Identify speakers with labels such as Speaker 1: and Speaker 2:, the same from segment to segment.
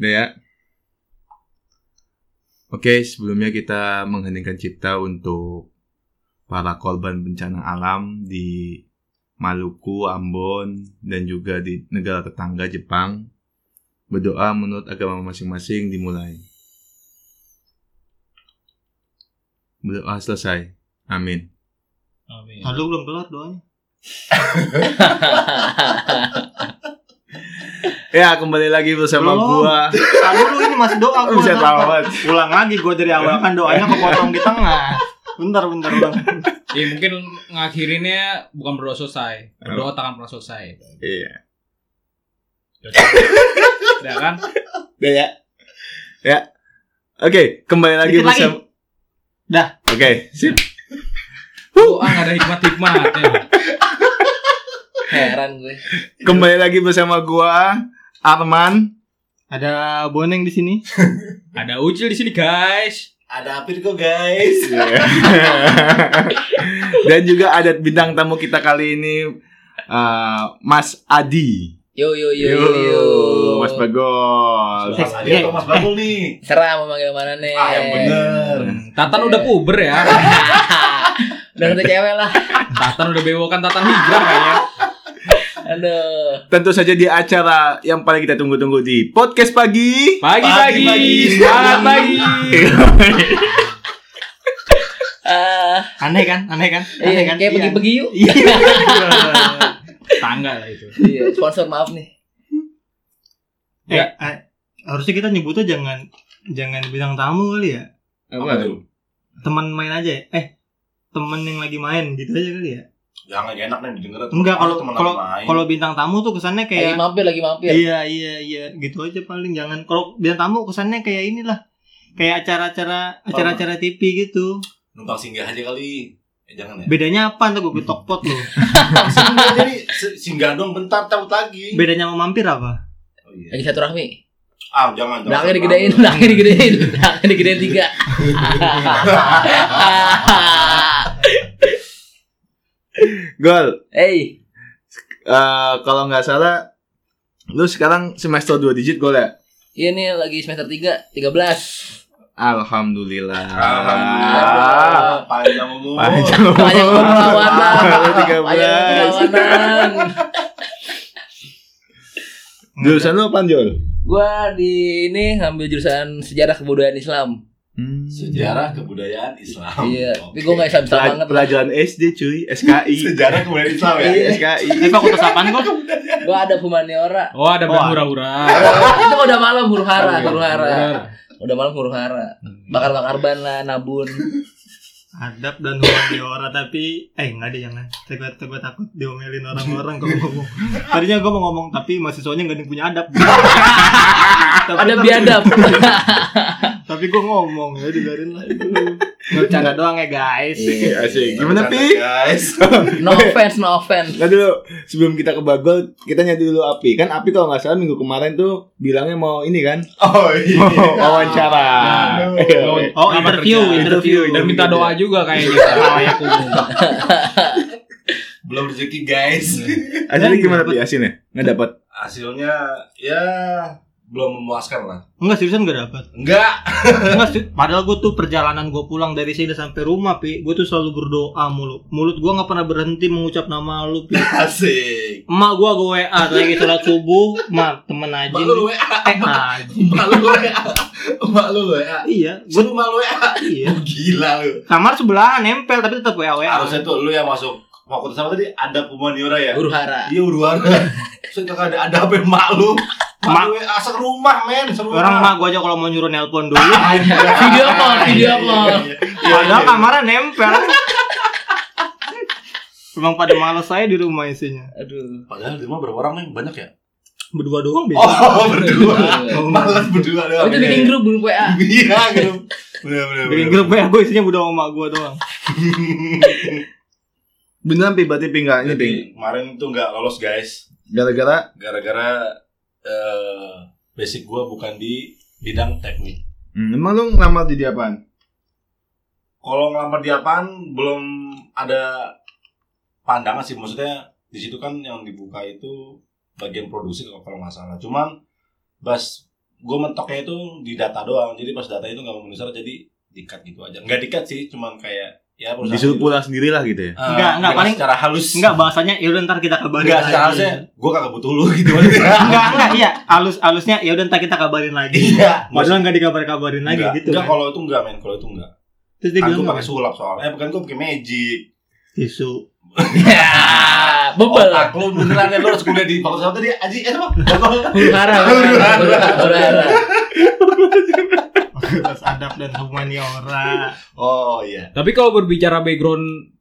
Speaker 1: Udah ya. Oke, sebelumnya kita mengheningkan cipta untuk para korban bencana alam di Maluku, Ambon, dan juga di negara tetangga Jepang. Berdoa menurut agama masing-masing dimulai. Berdoa selesai. Amin.
Speaker 2: Amin.
Speaker 3: Lalu belum kelar doanya.
Speaker 1: Ya, kembali lagi bersama
Speaker 3: Belum.
Speaker 1: gua.
Speaker 3: Lalu lu ini masih doa
Speaker 1: Aku
Speaker 3: gua.
Speaker 1: bisa
Speaker 3: ntar.
Speaker 1: tahu banget.
Speaker 3: Ulang lagi gua dari awal kan doanya kepotong di tengah. Bentar bentar bang.
Speaker 2: Ya mungkin ngakhirinnya bukan berdoa selesai, berdoa takkan pernah selesai.
Speaker 1: Iya.
Speaker 2: Ya kan?
Speaker 1: Udah ya. Ya. Oke, kembali lagi
Speaker 3: Dikit lagi.
Speaker 1: bersama
Speaker 3: Dah.
Speaker 1: Oke, sip.
Speaker 2: Doa nggak ada hikmat-hikmatnya.
Speaker 4: Heran gue.
Speaker 1: Kembali lagi bersama gua Arman.
Speaker 3: Ada boneng di sini.
Speaker 2: Ada ucil di sini guys.
Speaker 4: Ada apir kok guys.
Speaker 1: Dan juga ada bintang tamu kita kali ini eh, Mas Adi.
Speaker 4: Yo yo yo yo. yo.
Speaker 1: Mas Bagol.
Speaker 3: Eh,
Speaker 5: Mas Adi atau Mas Bagul nih?
Speaker 4: Serah mau manggil mana nih?
Speaker 5: Ah, yang bener.
Speaker 2: Tatan udah puber ya.
Speaker 4: Udah ada cewek lah.
Speaker 2: Tatan udah bewokan Tatan hijrah kayaknya.
Speaker 4: Aduh.
Speaker 1: Tentu saja di acara yang paling kita tunggu-tunggu di podcast pagi.
Speaker 2: Pagi-pagi,
Speaker 5: Pagi-pagi.
Speaker 2: semangat pagi.
Speaker 4: Ah,
Speaker 3: Aneh kan? Aneh kan? Aneh
Speaker 4: iya,
Speaker 3: kan?
Speaker 4: kayak pergi-pergi yuk.
Speaker 3: Iya.
Speaker 2: Tangga lah itu.
Speaker 4: Iya, sponsor maaf nih.
Speaker 3: Eh, eh, harusnya kita nyebutnya jangan jangan bintang tamu kali ya.
Speaker 5: Apa tuh?
Speaker 3: Teman main aja ya. Eh, temen yang lagi main gitu aja kali ya.
Speaker 5: Jangan gak enak nih didengar.
Speaker 3: Enggak kalau
Speaker 5: Temen
Speaker 3: kalau
Speaker 5: lagi main.
Speaker 3: kalau bintang tamu tuh kesannya
Speaker 4: Lagi
Speaker 3: kayak
Speaker 4: mampir lagi mampir.
Speaker 3: Iya iya iya gitu aja paling jangan kalau bintang tamu kesannya kayak inilah kayak acara-acara acara-acara TV gitu.
Speaker 5: numpang singgah aja kali. Eh, jangan ya.
Speaker 3: Bedanya apa tuh gue ketok pot lo?
Speaker 5: Singgah jadi se- singgah dong bentar cabut lagi.
Speaker 3: Bedanya sama mampir apa?
Speaker 5: Oh, iya.
Speaker 4: Lagi satu rahmi.
Speaker 5: Ah, jangan jangan.
Speaker 4: Belakangnya digedein, belakangnya digedein, belakangnya digedein tiga.
Speaker 1: Gol.
Speaker 4: Hey,
Speaker 1: eh, kalau nggak salah lu sekarang semester 2 digit gol ya?
Speaker 4: ini iya lagi semester tiga, tiga belas.
Speaker 1: Alhamdulillah.
Speaker 5: Alhamdulillah. Panjang umur.
Speaker 1: Panjang
Speaker 4: Banyak
Speaker 1: umur. Baru
Speaker 4: perlawanan, banyak
Speaker 1: 13.
Speaker 4: perlawanan.
Speaker 1: Jurusan lu apa, Jol?
Speaker 4: Gua di ini ngambil jurusan sejarah kebudayaan Islam.
Speaker 5: Sejarah kebudayaan Islam.
Speaker 4: Iya, tapi
Speaker 5: Oke.
Speaker 4: gue gak Islam Islam
Speaker 1: Pela-
Speaker 4: banget.
Speaker 1: pelajaran SD cuy, SKI.
Speaker 5: Sejarah kebudayaan Islam
Speaker 1: Iya,
Speaker 5: ya.
Speaker 1: SKI.
Speaker 3: Eh fakultas apaan kok?
Speaker 4: Gue ada humaniora.
Speaker 2: Oh, ada
Speaker 3: Oh,
Speaker 2: bilang hura-hura.
Speaker 4: Itu udah malam huru hara,
Speaker 1: Iya,
Speaker 4: huru hara.
Speaker 2: Hura-hura.
Speaker 4: Udah malam huru hara. Bakar bakar ban lah, nabun.
Speaker 3: Adab dan humaniora tapi eh nggak deh jangan. Saya gua, saya gua takut diomelin orang-orang kalau ngomong. Tadinya gua mau ngomong tapi mahasiswanya nggak ada yang punya adab. tapi,
Speaker 4: Ada
Speaker 3: tapi-
Speaker 4: biadab.
Speaker 1: Iya.
Speaker 3: Tapi gua ngomong ya dengerin lah. Nggak Bercanda doang ya guys.
Speaker 1: Iya, asik. Gimana,
Speaker 5: Bercanda,
Speaker 1: Pi?
Speaker 5: Guys.
Speaker 4: No offense, no offense.
Speaker 1: Nah dulu, sebelum kita ke Bagol, kita nyari dulu Api. Kan Api kalau nggak salah minggu kemarin tuh bilangnya mau ini kan?
Speaker 5: Oh iya.
Speaker 1: Mau wawancara.
Speaker 2: Nah.
Speaker 1: Iya.
Speaker 3: Oh,
Speaker 2: Lama
Speaker 3: interview,
Speaker 2: kerja.
Speaker 3: interview.
Speaker 2: Dan minta doa juga kayaknya. Halayak umum.
Speaker 5: Belum rezeki guys.
Speaker 1: Asinnya gimana, Pi? Asinnya? Nggak dapat.
Speaker 5: Hasilnya ya belum memuaskan lah.
Speaker 3: Enggak seriusan gak dapat.
Speaker 5: Enggak.
Speaker 3: Enggak sih. Padahal gue tuh perjalanan gue pulang dari sini sampai rumah pi, gue tuh selalu berdoa mulu. Mulut gue nggak pernah berhenti mengucap nama lu pi.
Speaker 5: Asik.
Speaker 3: Emak gue gue WA lagi sholat subuh, ma temen aja.
Speaker 5: Mak lu lu WA.
Speaker 3: Eh aja.
Speaker 5: Mak lu lu WA. Mak lu ya. lu WA.
Speaker 3: Iya, gue
Speaker 5: Gue tuh mak lu WA.
Speaker 3: iya.
Speaker 5: Gila lu.
Speaker 3: Kamar sebelah nempel tapi tetap WA WA.
Speaker 5: Harusnya tuh lu yang masuk fakultas apa tadi? Ada humaniora ya?
Speaker 4: Huru hara.
Speaker 5: Iya uruan. Terus itu kagak ada ada apa yang mak lu. Mak
Speaker 3: Mak-
Speaker 5: lu WA serumah men, Iya, serumah.
Speaker 3: Orang emak gue aja kalau mau nyuruh nelpon dulu.
Speaker 5: Ah,
Speaker 4: Video call,
Speaker 5: Iya,
Speaker 4: video call.
Speaker 3: Padahal kan kamarnya nempel. Emang pada males saya di rumah isinya.
Speaker 4: Aduh.
Speaker 5: Padahal di rumah berapa orang nih? Banyak ya?
Speaker 3: Berdua doang beda.
Speaker 5: Oh, berdua. Malas berdua
Speaker 4: Oh,
Speaker 5: doang.
Speaker 4: Iya, itu bikin grup grup WA.
Speaker 5: Iya, grup. Bener-bener.
Speaker 3: Bikin grup WA gue isinya udah sama gue doang.
Speaker 1: Beneran Pi, berarti Pi nggak ini Pi.
Speaker 5: Jadi, kemarin tuh nggak lolos guys
Speaker 1: Gara-gara
Speaker 5: gara-gara eh, basic gua bukan di bidang teknik.
Speaker 1: Hmm, emang lu ngelamar jadi apaan?
Speaker 5: kalau ngelamar di apaan belum ada pandangan sih maksudnya di situ kan yang dibuka itu bagian produksi kalau kalau nggak salah cuman bas gue mentoknya itu di data doang jadi pas data itu nggak memenuhi syarat jadi dikat gitu aja nggak dikat sih cuman kayak ya
Speaker 1: oh,
Speaker 5: perusahaan
Speaker 1: Disuruh
Speaker 5: gitu.
Speaker 1: pulang sendiri lah gitu ya.
Speaker 5: Eh,
Speaker 3: Nggak, nggak,
Speaker 5: bilang
Speaker 3: paling-
Speaker 5: secara halus
Speaker 3: Enggak bahasanya ya udah ntar kita kabarin
Speaker 5: Enggak, secara
Speaker 3: lagi.
Speaker 5: halusnya gue kagak butuh lu gitu
Speaker 3: Enggak, enggak, iya. Alus alusnya ya udah ntar kita kabarin lagi.
Speaker 5: iya
Speaker 3: Padahal enggak dikabar-kabarin lagi
Speaker 5: Enggak,
Speaker 3: gitu.
Speaker 5: enggak
Speaker 3: kan.
Speaker 5: kalau itu enggak men kalau itu enggak
Speaker 3: Terus dia
Speaker 5: kan
Speaker 3: bilang
Speaker 5: gue
Speaker 3: apa?
Speaker 5: pakai sulap soalnya eh bukan gue pakai magic
Speaker 3: Tisu.
Speaker 1: Iya.
Speaker 4: Ya, bebel.
Speaker 5: otak lu Oh, beneran ya lu harus kuliah di fakultas apa tadi aji eh apa
Speaker 4: Huru hara. Huru hara. Huru hara.
Speaker 3: Fakultas adab dan
Speaker 5: ya,
Speaker 3: humaniora.
Speaker 5: oh iya
Speaker 2: Tapi kalau berbicara background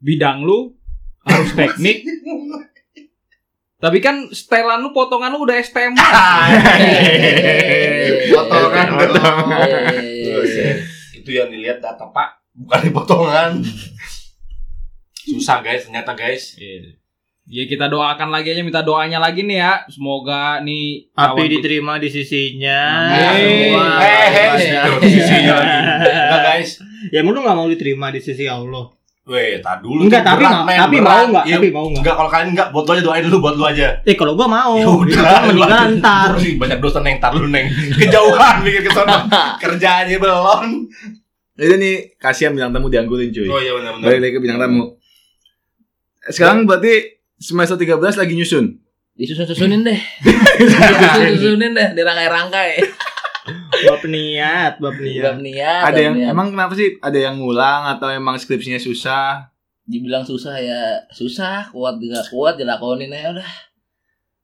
Speaker 2: bidang lu harus teknik. Tapi kan setelan lu potongan lu udah STM.
Speaker 4: Iya, Hehehe.
Speaker 5: Potongan
Speaker 4: Iya,
Speaker 5: dong. Iya.
Speaker 1: Oh, iya.
Speaker 4: Hehehe.
Speaker 5: eh, itu yang dilihat data pak bukan di potongan susah guys ternyata guys
Speaker 2: Ya kita doakan lagi aja minta doanya lagi nih ya. Semoga nih
Speaker 3: Api
Speaker 2: kawan-
Speaker 3: diterima di sisinya.
Speaker 2: Amin.
Speaker 3: Semua.
Speaker 5: Eh, eh,
Speaker 3: Ibadah.
Speaker 5: di sisinya lagi. ya. enggak guys
Speaker 3: Ya emang lu gak mau diterima di sisi Allah
Speaker 5: Weh, tak dulu.
Speaker 3: Enggak
Speaker 5: tuh
Speaker 3: tapi
Speaker 5: berat,
Speaker 3: ma-
Speaker 5: men,
Speaker 3: tapi
Speaker 5: berat.
Speaker 3: mau gak
Speaker 5: Iya,
Speaker 3: Tapi mau gak
Speaker 5: Enggak, kalau kalian enggak, buat lu aja doain dulu buat lu aja.
Speaker 3: Eh kalau gua mau
Speaker 5: Ya
Speaker 3: Gua
Speaker 5: udah,
Speaker 3: meninggal ntar
Speaker 5: Lu sih banyak dosa neng, tar lu neng. Kejauhan mikir ke sana. Kerjaannya belon.
Speaker 1: Jadi Ya nih kasihan bintang tamu dianggurin cuy.
Speaker 5: Oh iya benar-benar.
Speaker 1: Balik lagi ke bintang tamu. Sekarang berarti semester 13 lagi nyusun.
Speaker 4: Disusun-susunin deh. Disusun-susunin deh, dirangkai-rangkai.
Speaker 3: Bab niat Bab niat
Speaker 4: Bab
Speaker 1: Iya. ada
Speaker 4: niat. bab
Speaker 1: yang
Speaker 4: niat.
Speaker 1: emang kenapa sih ada yang ngulang atau emang skripsinya susah
Speaker 4: dibilang susah ya susah, kuat juga kuat dilakonin aja udah.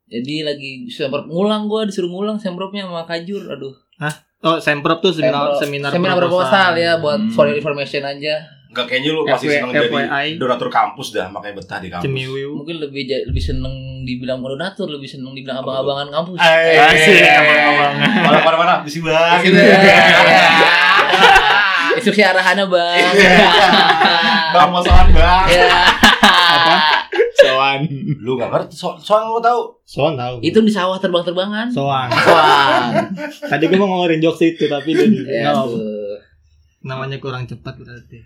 Speaker 4: Jadi lagi semprot ngulang gua disuruh ngulang semprotnya sama kajur. Aduh. Eh,
Speaker 3: Oh semprot tuh seminar Seminar, Hmm.
Speaker 4: seminar proposal ya buat for your information aja.
Speaker 5: Enggak kayaknya lu pasti
Speaker 3: FY-
Speaker 5: seneng jadi
Speaker 3: FYI.
Speaker 5: donatur kampus dah, makanya betah di kampus.
Speaker 3: Cemiwiw
Speaker 4: Mungkin lebih ja- lebih seneng dibilang koordinator, lebih seneng dibilang abang-abangan kampus.
Speaker 5: Eh, iya.
Speaker 3: Asik, abang-abangan.
Speaker 5: Mana mana mana, Iya, bisi banget.
Speaker 4: Instruksi Eh. arahannya bang.
Speaker 5: iya,
Speaker 3: Iya.
Speaker 5: Bang masalah bang.
Speaker 4: Ya.
Speaker 1: soan
Speaker 5: Lu enggak ngerti so soal lu tahu.
Speaker 3: Soan tau
Speaker 4: Itu di sawah terbang-terbangan.
Speaker 3: Soan
Speaker 4: Wah.
Speaker 3: Tadi gua mau ngeluarin jokes itu Tapi dia
Speaker 4: Ya,
Speaker 3: nggak apa-apa.
Speaker 4: tuh.
Speaker 3: Namanya kurang cepat berarti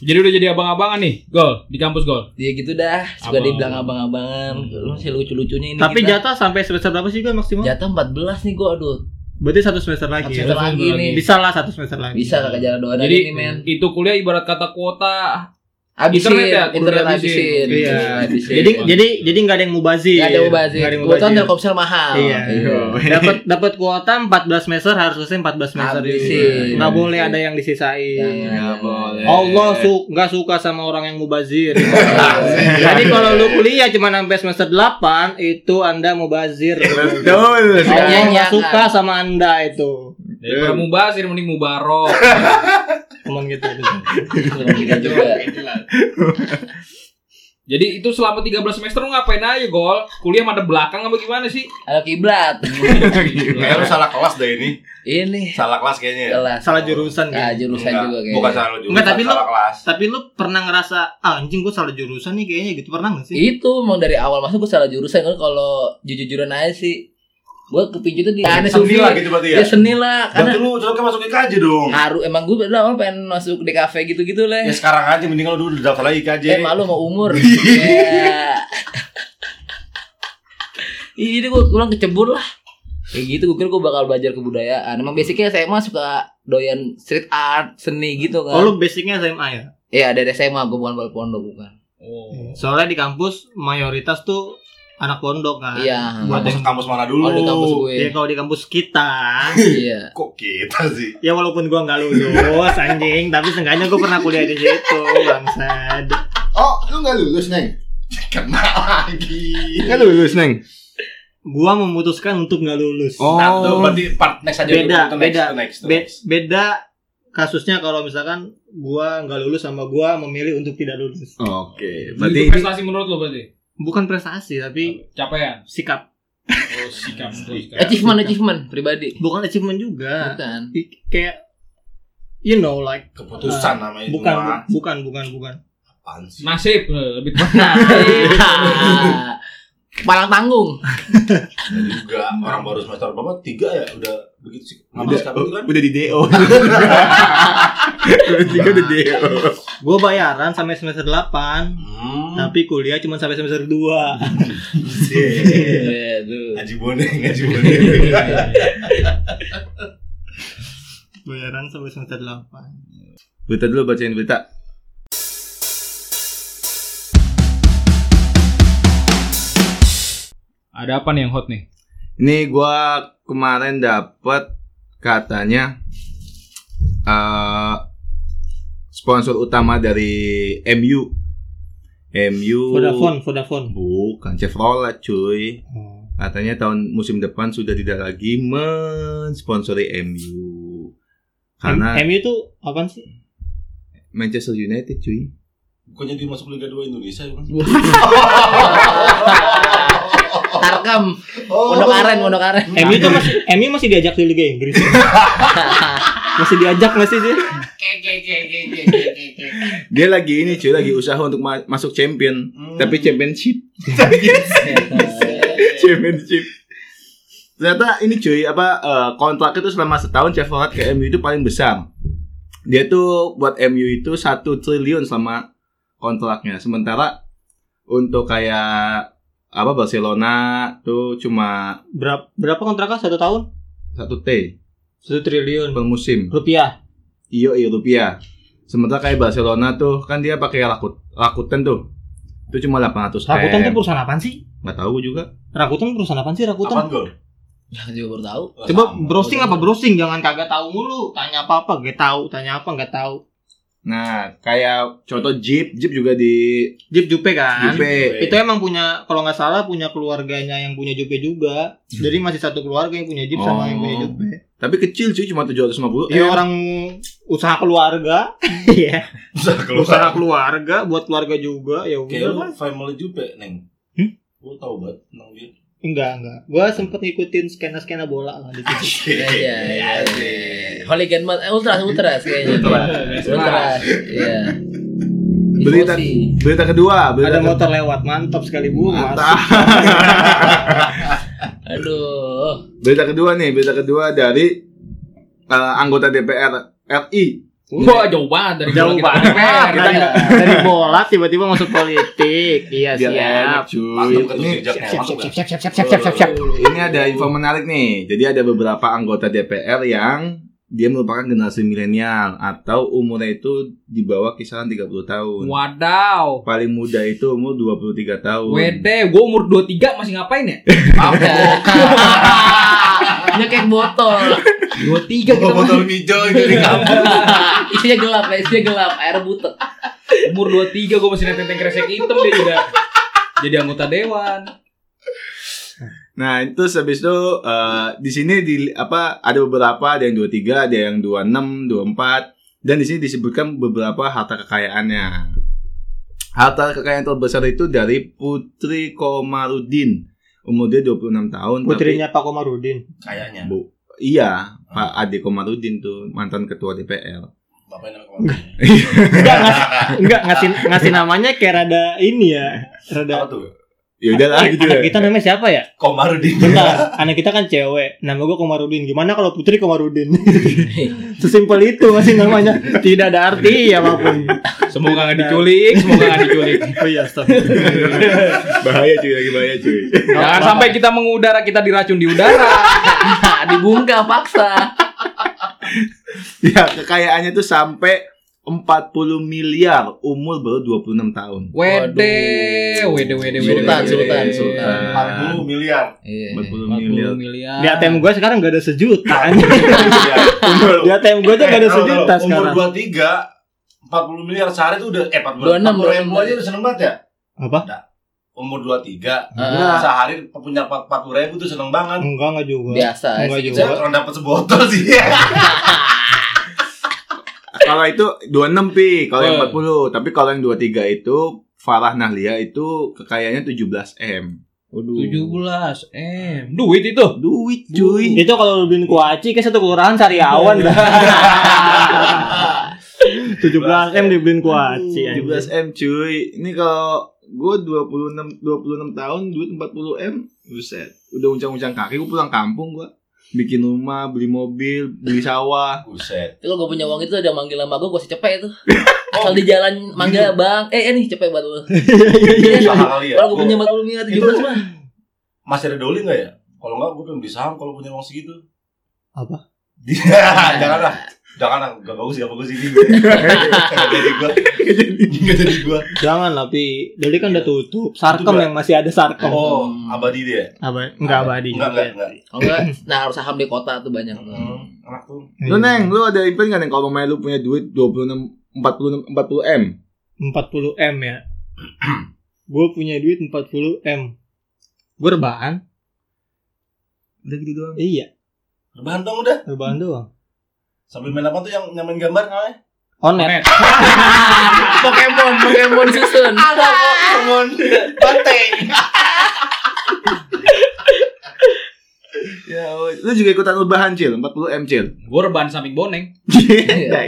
Speaker 2: Jadi udah jadi abang-abangan nih, gol di kampus gol.
Speaker 4: Dia gitu dah, suka
Speaker 2: Abang.
Speaker 4: dibilang abang-abangan. Lu masih lucu-lucunya ini.
Speaker 3: Tapi
Speaker 4: kita.
Speaker 3: jatah sampai semester berapa sih gua maksimal?
Speaker 4: jatah 14 nih gua aduh.
Speaker 3: Berarti satu semester
Speaker 4: Satu
Speaker 3: lagi ya?
Speaker 4: semester lagi
Speaker 2: Bisa
Speaker 4: nih.
Speaker 3: Bisa lah satu semester lagi
Speaker 4: Bisa kagak jalan doa
Speaker 2: Jadi
Speaker 4: ini men.
Speaker 2: itu kuliah ibarat kata kuota
Speaker 4: Habisin,
Speaker 2: internet ya, kudu
Speaker 4: internet
Speaker 2: dihabisin.
Speaker 4: habisin.
Speaker 3: Iya.
Speaker 4: Habisin.
Speaker 3: Jadi jadi jadi nggak ada yang mubazir.
Speaker 4: Gak ada mubazir.
Speaker 3: Nggak ada yang
Speaker 4: Kebetulan Telkomsel mahal.
Speaker 3: Iya. dapat dapat kuota 14 semester harus selesai 14 semester
Speaker 4: Habisin.
Speaker 3: juga. Nggak boleh ada yang disisain.
Speaker 4: Jangan.
Speaker 1: nggak boleh
Speaker 3: Allah su nggak suka sama orang yang mubazir. Jadi kalau lu kuliah cuma sampai semester 8 itu Anda mubazir.
Speaker 1: betul
Speaker 3: Allah
Speaker 4: Iya, iya,
Speaker 3: nggak suka sama Anda itu.
Speaker 2: Daripada mubazir mending mubarok.
Speaker 3: Cuman gitu. itu.
Speaker 4: Belum juga Iya gitu juga.
Speaker 2: Iya, Jadi itu selama 13 semester lu ngapain aja gol? Kuliah mada belakang apa gimana sih?
Speaker 4: Ada kiblat.
Speaker 2: Iya.
Speaker 5: Kayak Eh, lu salah kelas dah ini.
Speaker 4: Ini
Speaker 5: Salah kelas kayaknya. ya.
Speaker 4: kelas.
Speaker 3: Salah jurusan
Speaker 4: Ah,
Speaker 3: kan.
Speaker 4: jurusan
Speaker 5: Enggak,
Speaker 4: juga kayaknya.
Speaker 5: Bukan salah lu jurusan,
Speaker 3: Enggak, tapi lu-
Speaker 5: salah kelas.
Speaker 3: Tapi lu pernah ngerasa ah, anjing gua salah jurusan nih kayaknya gitu pernah nggak sih?
Speaker 4: itu emang dari awal masuk gue salah jurusan kan kalau jujur-jujuran aja sih gue kepincu tuh di aneh
Speaker 5: Seni
Speaker 4: seni
Speaker 5: lah gitu berarti ya.
Speaker 4: ya seni lah karena
Speaker 5: Berarti lu cocoknya masuk IKJ dong.
Speaker 4: haru emang gue bilang awal pengen masuk di kafe gitu-gitu
Speaker 5: Ya
Speaker 4: lah
Speaker 5: sekarang aja mending lu dulu daftar lagi IKJ.
Speaker 4: eh malu mau umur Ya. Iya, jadi gue kurang kecebur lah Kayak gitu gue kira gue bakal belajar kebudayaan Emang basicnya SMA suka doyan street art, seni gitu
Speaker 3: Oh,
Speaker 4: kan
Speaker 3: lu basicnya SMA ya?
Speaker 4: Iya dari SMA gue bukan balik pondok bukan Iya.
Speaker 2: Oh.
Speaker 3: Soalnya di kampus mayoritas tuh anak pondok kan.
Speaker 4: Iya
Speaker 3: Buat-
Speaker 5: Buat masuk kampus mana dulu?
Speaker 4: Kalau di kampus gue
Speaker 3: Ya kalau di kampus kita,
Speaker 4: Iya
Speaker 5: Kok kita sih?
Speaker 3: ya walaupun gua nggak lulus anjing, tapi seenggaknya gua pernah kuliah di situ, bangsat.
Speaker 6: Oh, lu nggak lulus, Neng?
Speaker 5: Kena lagi.
Speaker 3: Ya,
Speaker 1: nggak lulus neng
Speaker 3: Gua memutuskan untuk nggak lulus.
Speaker 5: Nah, tuh,
Speaker 1: oh
Speaker 5: berarti part next aja
Speaker 3: Beda,
Speaker 5: dulu. Itu next,
Speaker 3: beda.
Speaker 5: itu next, itu
Speaker 3: Be-
Speaker 5: next.
Speaker 3: beda kasusnya kalau misalkan gua nggak lulus sama gua memilih untuk tidak lulus.
Speaker 1: oke berarti
Speaker 2: Berarti itu
Speaker 1: ini
Speaker 2: prestasi menurut lu berarti?
Speaker 3: Bukan prestasi tapi
Speaker 2: Capaian.
Speaker 3: sikap.
Speaker 2: Oh, sikap sikap.
Speaker 4: Achievement, achievement pribadi
Speaker 3: Bukan achievement juga.
Speaker 4: Bukan
Speaker 3: I- Kayak you know like
Speaker 5: Keputusan namanya itu
Speaker 3: Nah, bukan
Speaker 5: mah.
Speaker 3: bukan bukan bukan.
Speaker 5: Apaan sih?
Speaker 2: Nasib eh, lebih tepat.
Speaker 4: Ah, Palang tanggung.
Speaker 5: Nggak juga orang baru semester berapa? Tiga ya udah begitu sih. Ngapain
Speaker 1: udah
Speaker 5: sekarang itu kan?
Speaker 1: udah di do Berarti gue udah DO.
Speaker 3: Gue bayaran sampai semester 8
Speaker 5: Hmm.
Speaker 3: Tapi kuliah cuma sampai semester 2
Speaker 5: Sih.
Speaker 4: Iya, tuh.
Speaker 5: Ngaji boneng, ngaji boneng.
Speaker 3: Bayaran sampai semester 8
Speaker 1: Berita dulu bacain berita.
Speaker 2: Ada apa nih yang hot nih?
Speaker 1: Ini gua kemarin dapat katanya eh sponsor utama dari MU. MU
Speaker 3: Vodafone, Vodafone
Speaker 1: Bukan Chevrolet cuy
Speaker 3: Oh.
Speaker 1: Katanya tahun musim depan sudah tidak lagi mensponsori MU Karena
Speaker 3: M- MU itu apaan sih?
Speaker 1: Manchester United cuy
Speaker 5: Bukannya dia masuk Liga 2 Indonesia ya kan?
Speaker 4: Tarkam,
Speaker 6: Oh,
Speaker 4: Pondok Aren, Pondok Aren.
Speaker 3: MU itu masih MU masih diajak di Liga Inggris. masih diajak nggak sih dia?
Speaker 1: Dia lagi ini cuy Lagi usaha untuk ma- masuk champion
Speaker 5: Hmm.
Speaker 1: Tapi championship Championship Ternyata ini cuy apa eh, kontrak itu selama setahun Chevrolet ke MU itu paling besar. Dia tuh buat MU itu satu triliun selama kontraknya. Sementara untuk kayak apa Barcelona tuh cuma
Speaker 3: Berapa berapa kontraknya satu tahun?
Speaker 1: satu T
Speaker 3: Satu triliun
Speaker 1: per musim.
Speaker 3: rupiah.
Speaker 1: Iyo iyo rupiah. Sementara kayak Barcelona tuh kan dia pakai Rakut Rakuten tuh. Itu cuma 800 M.
Speaker 3: Rakuten tuh perusahaan apaan sih?
Speaker 1: Nggak tahu juga.
Speaker 3: Rakuten perusahaan apaan sih Rakuten?
Speaker 5: Apaan gol?
Speaker 4: Ya, juga baru tahu.
Speaker 3: Coba browsing apa browsing jangan kagak tahu mulu. Tanya apa apa gak tahu, tanya apa nggak tahu.
Speaker 1: Nah, kayak contoh Jeep, Jeep juga di
Speaker 3: Jeep Jupe kan?
Speaker 1: Juve.
Speaker 3: Itu emang punya kalau nggak salah punya keluarganya yang punya Jupe juga. Jadi masih satu keluarga yang punya Jeep
Speaker 1: Oh.
Speaker 3: sama yang punya Jupe.
Speaker 1: Tapi kecil cuy cuma 750
Speaker 3: Iya
Speaker 1: M.
Speaker 3: orang usaha keluarga. Iya.
Speaker 5: Usah
Speaker 3: usaha
Speaker 5: keluar.
Speaker 3: keluarga buat keluarga juga ya udah
Speaker 5: Kayak lu
Speaker 3: mas
Speaker 5: family Jupe, Neng.
Speaker 3: Hmm?
Speaker 5: Gua tau banget tentang dia.
Speaker 3: enggak enggak gua sempet ngikutin skena skena bola lah di situ
Speaker 4: Iya, iya, iya. Hooligan banget, Eh, ultras, ultras kayaknya. Ultras, iya.
Speaker 1: Berita-
Speaker 4: Emosi.
Speaker 1: Berita kedua, berita
Speaker 3: ada
Speaker 1: kedua.
Speaker 3: motor lewat mantap sekali bu mas
Speaker 4: Aduh.
Speaker 1: Berita kedua nih, berita kedua dari eh, anggota DPR RI.
Speaker 2: Wah jauh banget Ah, dari
Speaker 3: Jauh
Speaker 2: bola
Speaker 3: banget.
Speaker 2: DPR.
Speaker 3: dari, dari bola tiba-tiba masuk politik iya
Speaker 1: Biar enak,
Speaker 3: siap
Speaker 1: cuy.
Speaker 5: Masuk ke tuh
Speaker 1: Ini,
Speaker 5: jejaknya, masuk ya?
Speaker 3: siap
Speaker 5: dah.
Speaker 3: siap siap siap siap siap siap siap
Speaker 1: ini ada info menarik nih. Jadi ada beberapa anggota DPR yang dia merupakan generasi milenial atau umurnya itu di bawah kisaran 30 tahun.
Speaker 2: Wadaw.
Speaker 1: Paling muda itu umur 23 tahun.
Speaker 2: Wede, gue umur 23 masih ngapain ya?
Speaker 4: Nyekek botol.
Speaker 2: 23 kita
Speaker 5: Bawa
Speaker 2: masih
Speaker 5: botol hijau gitu. itu di
Speaker 3: Iya.
Speaker 5: kampung.
Speaker 4: Isinya gelap, ya, isinya gelap, air butek.
Speaker 2: umur 23 gue masih nenteng kresek hitam dia juga. Jadi anggota dewan.
Speaker 1: Nah, itu habis itu eh, di sini di apa ada beberapa ada yang 23, ada yang 26, 24 dan di sini disebutkan beberapa harta kekayaannya. Harta kekayaan terbesar itu dari Putri Komarudin. Umur dia 26 tahun tapi-
Speaker 3: putrinya Pak Komarudin
Speaker 5: Kayaknya.
Speaker 1: Bu, iya, Pak Ade Komarudin tuh mantan ketua DPR.
Speaker 5: Bapaknya nama kemarin.
Speaker 3: enggak ngasih enggak ngasih ngasih namanya kayak rada ini ya
Speaker 5: Apa
Speaker 3: rada
Speaker 5: tuh?
Speaker 1: Ya udahlah
Speaker 3: Eh,
Speaker 1: gitu.
Speaker 3: anak
Speaker 1: ya.
Speaker 3: kita namanya siapa ya?
Speaker 5: Komarudin.
Speaker 3: Bentar, anak kita kan cewek. Nama gua Komarudin. Gimana kalau Putri Komarudin? Sesimpel itu masih namanya. Tidak ada arti ya maupun.
Speaker 2: Semoga nggak diculik, semoga Nah. nggak diculik.
Speaker 3: Oh iya, stop.
Speaker 1: Bahaya cuy, lagi bahaya cuy.
Speaker 2: Jangan sampai kita mengudara, kita diracun di udara.
Speaker 4: Dibungkam paksa.
Speaker 1: ya, kekayaannya tuh sampai 40 miliar umur baru 26 tahun.
Speaker 2: Wede, wede, wede, wede.
Speaker 4: Sultan,
Speaker 2: wede.
Speaker 4: sultan, sultan.
Speaker 5: 40 miliar.
Speaker 4: Iya.
Speaker 1: 40 miliar.
Speaker 2: 40 miliar.
Speaker 3: Di ATM gua sekarang gak ada sejuta.
Speaker 5: Umur-
Speaker 3: Di ATM gua aja gak ada
Speaker 5: Eh, tahu,
Speaker 3: sejuta
Speaker 5: tahu.
Speaker 3: sekarang.
Speaker 5: Umur 23 40 miliar sehari itu udah eh 40
Speaker 4: 26,
Speaker 5: 40 ribu aja udah seneng banget ya.
Speaker 3: Apa? Iya.
Speaker 5: Umur 23
Speaker 4: Ah,
Speaker 5: sehari punya 40 ribu tuh seneng banget.
Speaker 3: Enggak, enggak juga.
Speaker 5: Ya.
Speaker 4: biasa.
Speaker 3: Enggak
Speaker 4: sedikit.
Speaker 3: juga.
Speaker 5: Saya kurang dapat sebotol sih.
Speaker 1: Kalau itu 26 pi, kalau yang
Speaker 2: Eh.
Speaker 1: 40. Tapi kalau yang 23 itu Farah Nahlia itu kekayaannya 17 M. Waduh.
Speaker 2: 17 M. Duit itu.
Speaker 1: Duit cuy.
Speaker 3: Itu kalau lu beliin kuaci kayak satu kelurahan sariawan dah. 17 M dibeliin kuaci. anjing.
Speaker 1: 17 M cuy. Ini kalau gue 26 26 tahun duit 40 M, buset. Udah uncang-uncang kaki gue pulang kampung gue. bikin rumah, beli mobil, beli sawah.
Speaker 5: Buset.
Speaker 4: Itu kalau gue punya uang itu ada yang manggil sama gue, gue secepet tuh. Kalau di jalan manggil bang, eh eh nih cepet buat lu. iya,
Speaker 3: Iya,
Speaker 5: Usaha kali ya.
Speaker 4: Kalau gue
Speaker 5: Gua-
Speaker 4: punya 40 miliar 17 mah.
Speaker 5: Masih ada doli nggak ya? Kalau nggak, gue pengen beli saham kalau punya uang segitu. Iya,
Speaker 3: Apa?
Speaker 5: jangan lah, jangan lah, gak bagus, gak bagus ini. gue. Nggak jadi gue, nggak jadi gue.
Speaker 3: Jangan lah Pi. Doli kan udah tutup. Sarkom
Speaker 5: Tutup,
Speaker 3: yang masih ada sarkom.
Speaker 5: Oh, abadi dia.
Speaker 3: Apa? Enggak abadi.
Speaker 5: Enggak, enggak, enggak.
Speaker 4: Kalau enggak, nah harus saham di kota tuh banyak.
Speaker 5: Hmm, Enak tuh.
Speaker 1: Lu neng, lu ada impian nggak neng kalau mamanya lu punya duit 26 46 40 M?
Speaker 3: 40 m ya. gue punya duit 40 m. Gue rebahan.
Speaker 1: Udah gitu doang.
Speaker 3: Iya,
Speaker 5: Rebahan dong udah.
Speaker 3: rebahan doang.
Speaker 5: Sambil main apa tuh yang nyamain gambar namanya?
Speaker 3: Onet.
Speaker 4: Pokemon, Pokemon susun.
Speaker 5: Ada Pokemon. Banteng.
Speaker 1: Ya, woy. lu juga ikutan rebahan cil, 40 M cil.
Speaker 2: Gue rebahan samping boneng
Speaker 4: Iya.